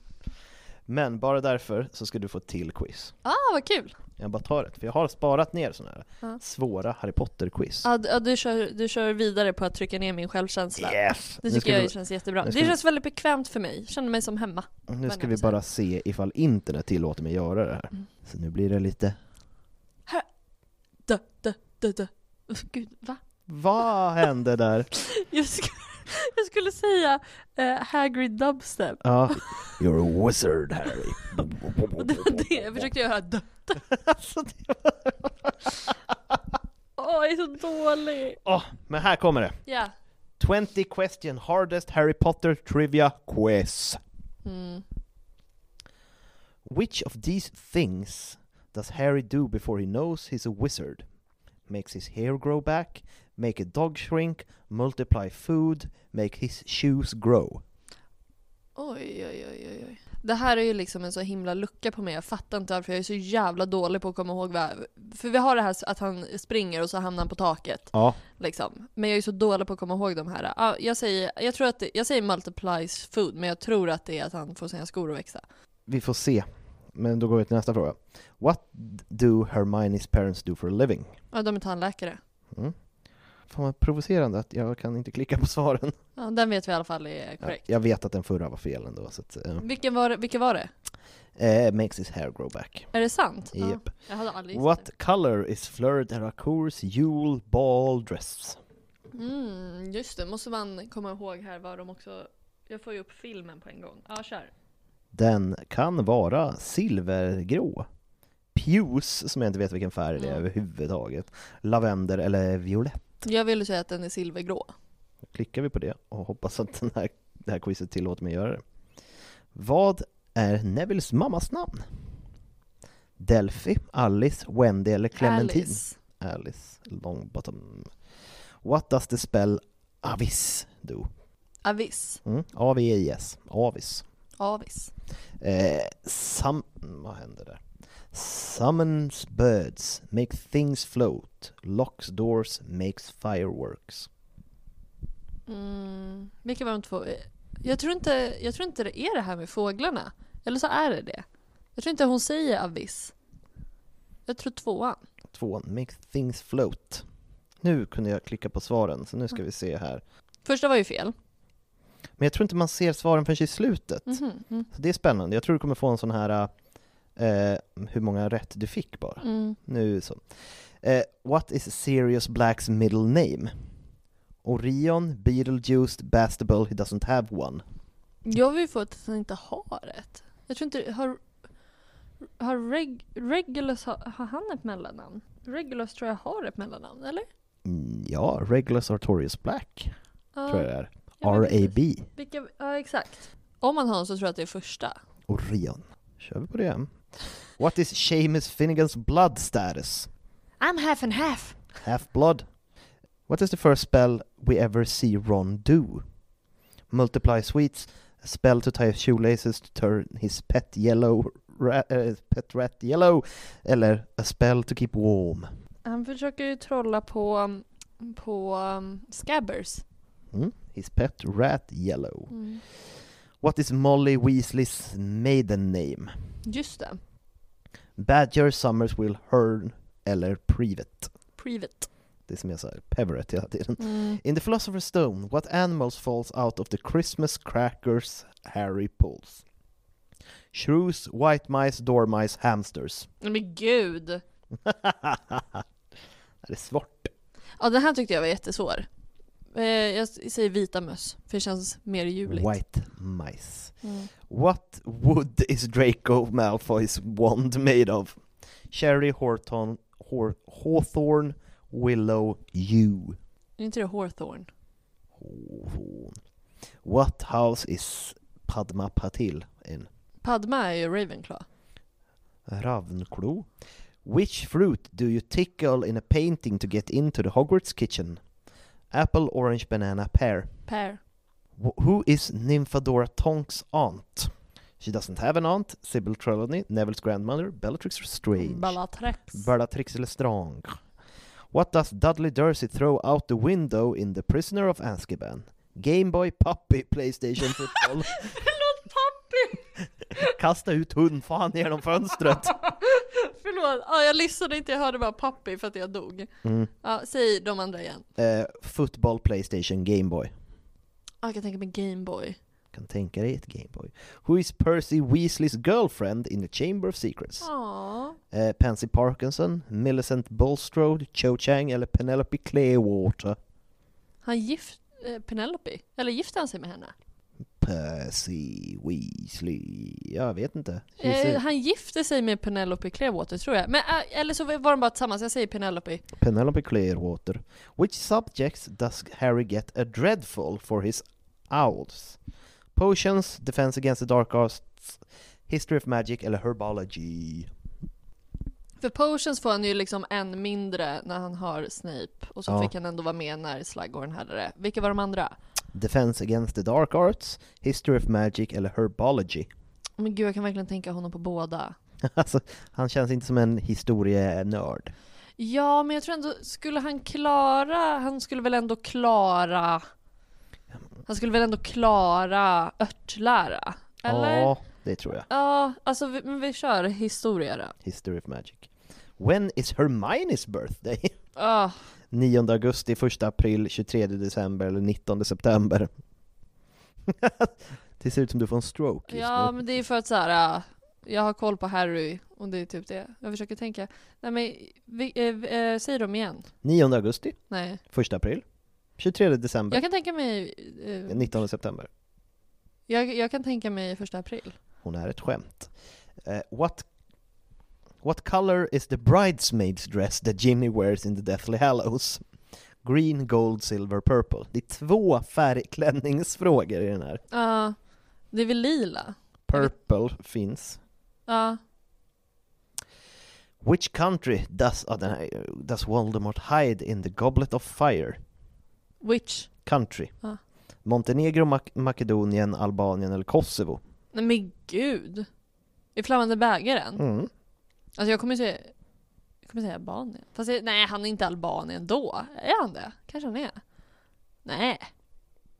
Men bara därför så ska du få ett till quiz.
Ah vad kul!
Jag bara tar ett, för jag har sparat ner sådana här
Ja.
svåra Harry Potter-quiz.
Ja, du, ja, du, kör, du kör vidare på att trycka ner min självkänsla.
Yes!
Det
Nu ska,
tycker jag
vi,
känns jättebra.
nu
Det
ska vi-
känns väldigt bekvämt för mig, känner mig som hemma.
nu ska
vänner
vi
så här.
bara se ifall internet tillåter mig göra det här.
Mm.
Så nu blir det lite...
Dö, dö, dö, dö. Gud, va?
Vad hände där?
Jag skulle, jag skulle säga eh, Hagrid dubstep.
Ja. You're a wizard Harry.
Och det var det jag försökte göra. Dö, dö.
Alltså, det var...
Åh, jag är så dålig.
Åh, men här kommer det.
Ja.
20 question hardest Harry Potter trivia quiz.
Mm.
Which of these things does Harry do before he knows he's a wizard? Makes his hair grow back, make a dog shrink, multiply food, make his shoes grow.
Oj, oj, oj, oj, oj. Det här är ju liksom en så himla lucka på mig. Jag fattar inte varför jag är så jävla dålig på att komma ihåg vad... För vi har det här s- att han springer och så hamnar han på taket.
Ja.
Liksom. Men jag är så dålig på att komma ihåg de här. Ja, jag, säger, jag, tror att det, jag säger multiplies food, men jag tror att det är att han får sina skor att växa.
Vi får se. Men då går vi till nästa fråga. What do Hermione's parents do for a living?
Ja, de är tandläkare.
Mm. Fan vad provocerande att jag kan inte klicka på svaren.
Ja, den vet vi i alla fall är korrekt.
Jag vet att den förra var fel ändå, så att... eh,
Vilken var, det- vilken var det?
eh, makes his hair grow back.
Är det sant?
Japp.
Ja. Jag hade aldrig gissat
What color is Fleur de Racour's Yule Ball dress?
det. Mm, just det, måste man komma ihåg här vad de också... Jag får ju upp filmen på en gång. Ja, kör.
Den kan vara silvergrå. Puce, som jag inte vet vilken färg det är överhuvudtaget. Lavender eller violett.
Jag ville säga att den är silvergrå.
Klickar vi på det och hoppas att den här, det här quizet tillåter mig göra det. Vad är Nevilles mammas namn? Delphi, Alice, Wendy eller Clementine?
Alice.
Alice Longbottom. What does the spell avis do?
Avis.
Mm, A-V-I-S. Avis.
Avis.
Eh, sum- vad händer där? Summons birds, make things float, locks doors, makes fireworks.
Mm, vilka var de två? Jag tror, inte, jag tror inte det är det här med fåglarna. Eller så är det det. Jag tror inte hon säger avis. Jag tror tvåan.
Tvåan, make things float. Nu kunde jag klicka på svaren, så nu ska vi se här.
Första var ju fel.
Men jag tror inte man ser svaren förrän i slutet.
Mhm, mm.
Så det är spännande. Jag tror du kommer få en sån här eh, hur många rätt du fick bara.
Mm.
Nu så. Eh, what is Sirius Black's middle name? Orion, Beetlejuice, Bastable, he doesn't have one.
Jag vill få att han inte har ett. Jag tror inte... Har, har Reg, Regulus... Har, har han ett mellannamn? Regulus tror jag har ett mellannamn, eller?
Mm, ja, Regulus Artorius Black
Ja.
tror jag det är.
Ja, men
R.A.B.
Vilka, ja, exakt. Om man har en så tror jag att det är första.
Orion. Kör vi på det. What is Seamus Finnegans blood status?
I'm half and half.
Half-blood. What is the first spell we ever see Ron do? Multiply sweets, a spell to tie shoelaces to turn his pet yellow ra- eh, pet rat yellow, eller a spell to keep warm.
Han försöker ju trolla på... um, På um, Scabbers.
Mm? His pet rat yellow.
Mm.
What is Molly Weasleys maiden name?
Just det.
Badger, Summers, Will, Hearn eller Privet.
Privet.
Det som jag sa, Peverett hela tiden.
Mm.
In the Philosopher's Stone, what animals falls out of the Christmas crackers Harry pulls? Shrews, white mice, dormice, hamsters.
Nej, Men gud!
det är svårt.
Ja, den här tyckte jag var jättesvår. Eh, jag säger vita möss, för det känns mer juligt.
White mice.
Mm.
What wood is Draco Malfoy's wand made of? Cherry, Horton, Hor- Hawthorn, Willow, Yew.
Är inte det Hawthorne?
Hawthorn. What house is Padma Patil in?
Padma är ju Ravenclaw.
Ravnklo. Which fruit do you tickle in a painting to get into the Hogwarts kitchen? Apple, orange, banana, pear.
Per.
Wh- who is Nymphadora Tonks' aunt? She doesn't have an aunt. Sybil Trelawney, Neville's grandmother, Bellatrix Lestrange.
Bellatrix.
Bellatrix Lestrange. What does Dudley Dursley throw out the window in The Prisoner of Azkaban? Game Boy, puppy, Playstation, footboll.
Förlåt pappi!
Kasta ut hundfan genom fönstret!
Förlåt, ja, jag lyssnade inte, jag hörde bara pappi för att jag dog.
Mm.
Ja, säg de andra igen.
Eh, football, Playstation, Game Boy.
Ja, jag kan tänka mig Gameboy.
Kan tänka dig ett Gameboy. Who is Percy Weasleys girlfriend in the Chamber of Secrets?
Ah.
Ja.
Eh, Pansy Parkinson, Millicent Bulstrode, Cho Chang eller Penelope Clearwater?
Han gift eh, Penelope? Eller gifte han sig med henne?
Percy Weasley... Jag vet inte. He's
Eh,
a-
han gifte sig med Penelope Clearwater tror jag. Men, eh, eller så var de bara tillsammans, jag säger Penelope.
Penelope Clearwater. Which subjects does Harry get a dreadful for his owls? Potions, Defense Against the Dark Arts, History of Magic eller Herbology?
För potions får han ju liksom en mindre när han har Snape. Och så
Ja.
fick han ändå vara med när Slughorn hade det. Vilka var de andra?
Defense Against the Dark Arts, History of Magic eller Herbology?
Men gud, jag kan verkligen tänka honom på båda.
Alltså, han känns inte som en historienörd.
Ja, men jag tror ändå, skulle han klara, han skulle väl ändå klara, han skulle väl ändå klara örtlära? Eller?
Ja, Det tror jag.
Ja, alltså vi, men vi kör historia då.
History of Magic. When is Hermione's birthday?
Ah,
9 augusti, 1 april, 23 december eller 19 september. det ser ut som du får en stroke just
ja,
nu.
men det är för att så här. ah, jag har koll på Harry och det är typ det. Jag försöker tänka. Nej men, vi, eh, eh, säg dem igen.
9 augusti,
Nej.
1 april, 23 december,
Jag kan tänka mig... Eh,
19 september.
jag, jag kan tänka mig första april.
Hon är ett skämt. Eh, what, what color is the bridesmaid's dress that Ginny wears in the Deathly Hallows? Green, gold, silver, purple. Det är två färgklänningsfrågor i den här.
Ja, det är väl lila?
Purple finns.
Ja.
Which country does, ah, den här, does Voldemort hide in the Goblet of Fire?
Which?
Country.
Ja.
Montenegro, Mak- Makedonien, Albanien eller Kosovo?
Nej men gud! I flammande bägaren?
Mm.
Alltså jag kommer säga... Jag kommer säga Albanien. Fast jag, nej, han är inte Albanien då. Är han det? Kanske han är? Nej.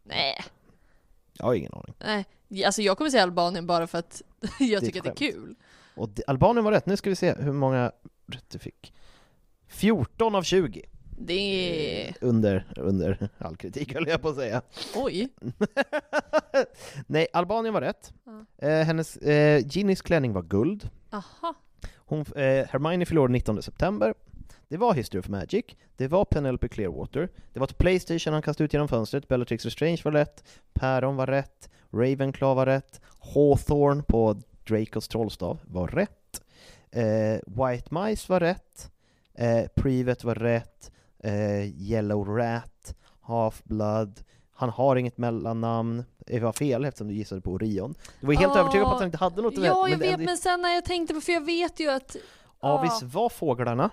Nej.
Jag har ingen aning.
Nej. Alltså jag kommer säga Albanien bara för att jag tycker att det är
skämt.
kul.
Och det, Albanien var rätt, nu ska vi se hur många rätt du fick. 14 av 20.
Det är...
Eh, Under, under all kritik höll jag på att säga.
Oj.
Nej, Albanien var rätt.
Ja.
Eh, hennes, eh, Ginnys klänning var guld.
Aha.
Hon, eh, Hermione förlorade 19 september. Det var History of Magic, det var Penelope Clearwater, det var ett Playstation han kastade ut genom fönstret, Bellatrix Lestrange var rätt, Päron var rätt, Ravenclaw var rätt, Hawthorne på Dracos trollstav var rätt, eh, White Mice var rätt, eh, Privet var rätt, eh, Yellow Rat, Half-Blood, han har inget mellannamn, Eh, det var fel eftersom du gissade på Orion. Du var ju helt
Ah.
övertygad om att han inte hade något
Ja,
det-
jag
det-
vet, men sen när jag tänkte på, för jag vet ju att...
Avis
Ah.
var fåglarna.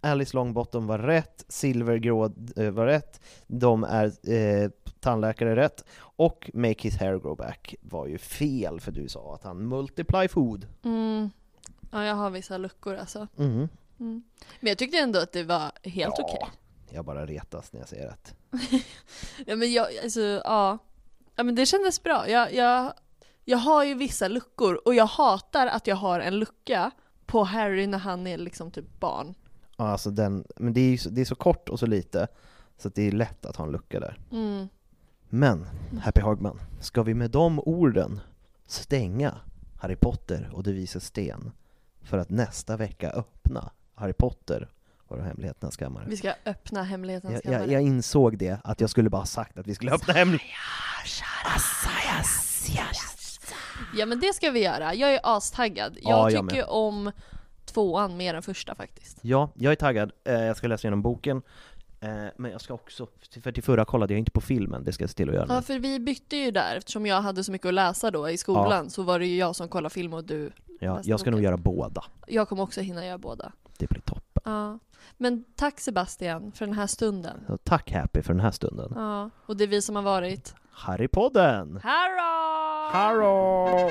Alice Longbottom var rätt, Silvergrå eh, var rätt, de är eh, tandläkare rätt, och Make His Hair Grow Back var ju fel för du sa att han multiply food.
Mm. Ja, jag har vissa luckor alltså.
Mhm.
Mm. Men jag tyckte ändå att det var helt
Ja.
okej.
Jag bara retas när jag säger rätt.
Ja men jag, alltså ja. Ja men det kändes bra. Jag, jag, jag har ju vissa luckor och jag hatar att jag har en lucka på Harry när han är liksom typ barn.
Ja, Alltså den, men det är, ju så, det är så kort och så lite, så att det är lätt att ha en lucka där.
Mm.
Men, Happy Hagman, ska vi med de orden stänga Harry Potter och De Vises Sten för att nästa vecka öppna Harry Potter och de hemligheternas kammare?
Vi ska öppna hemlighetens
Jag, jag,
kammare.
jag insåg det, att jag skulle bara ha sagt att vi skulle öppna hemligheterna.
Ja men det ska vi göra. Jag är astaggad. Jag
Ja, jag
tycker ju
med.
om tvåan mer än första faktiskt.
Ja, jag är taggad. Eh, Jag ska läsa igenom boken. Eh, Men jag ska också, för till förra kollade jag inte på filmen, det ska jag se till att göra nu.
Ja för vi bytte ju där eftersom jag hade så mycket att läsa då i skolan så var det ju jag som kollade film och du.
Ja,
läste
jag ska nog göra båda.
Jag kommer också hinna göra båda.
Det blir toppen.
Ja. Men tack Sebastian för den här stunden.
Så Tack Happy för den här stunden.
Ja, och det är vi som har varit
Harrypodden!
Harrow!
Harrow!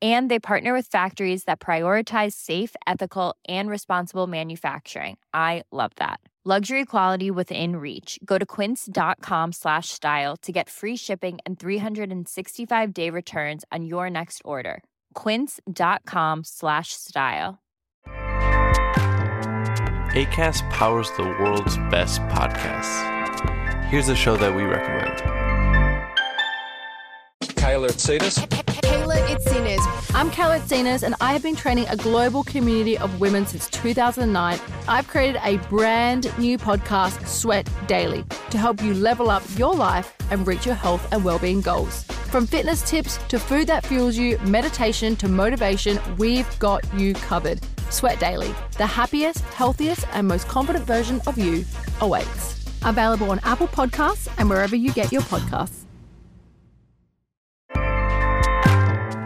And they partner with factories that prioritize safe, ethical, and responsible manufacturing. I love that. Luxury quality within reach. Go to quince.com slash style to get free shipping and 365 day returns on your next order. Quince.com slash style.
ACAST powers the world's best podcasts. Here's a show that we recommend.
Kyler Tsadis.
Kayla Itzinas. I'm Kayla Itzinas, and I have been training a global community of women since 2009. I've created a brand new podcast, Sweat Daily, to help you level up your life and reach your health and well-being goals. From fitness tips to food that fuels you, meditation to motivation, we've got you covered. Sweat Daily, the happiest, healthiest, and most confident version of you awaits. Oh, Available on Apple Podcasts and wherever you get your podcasts.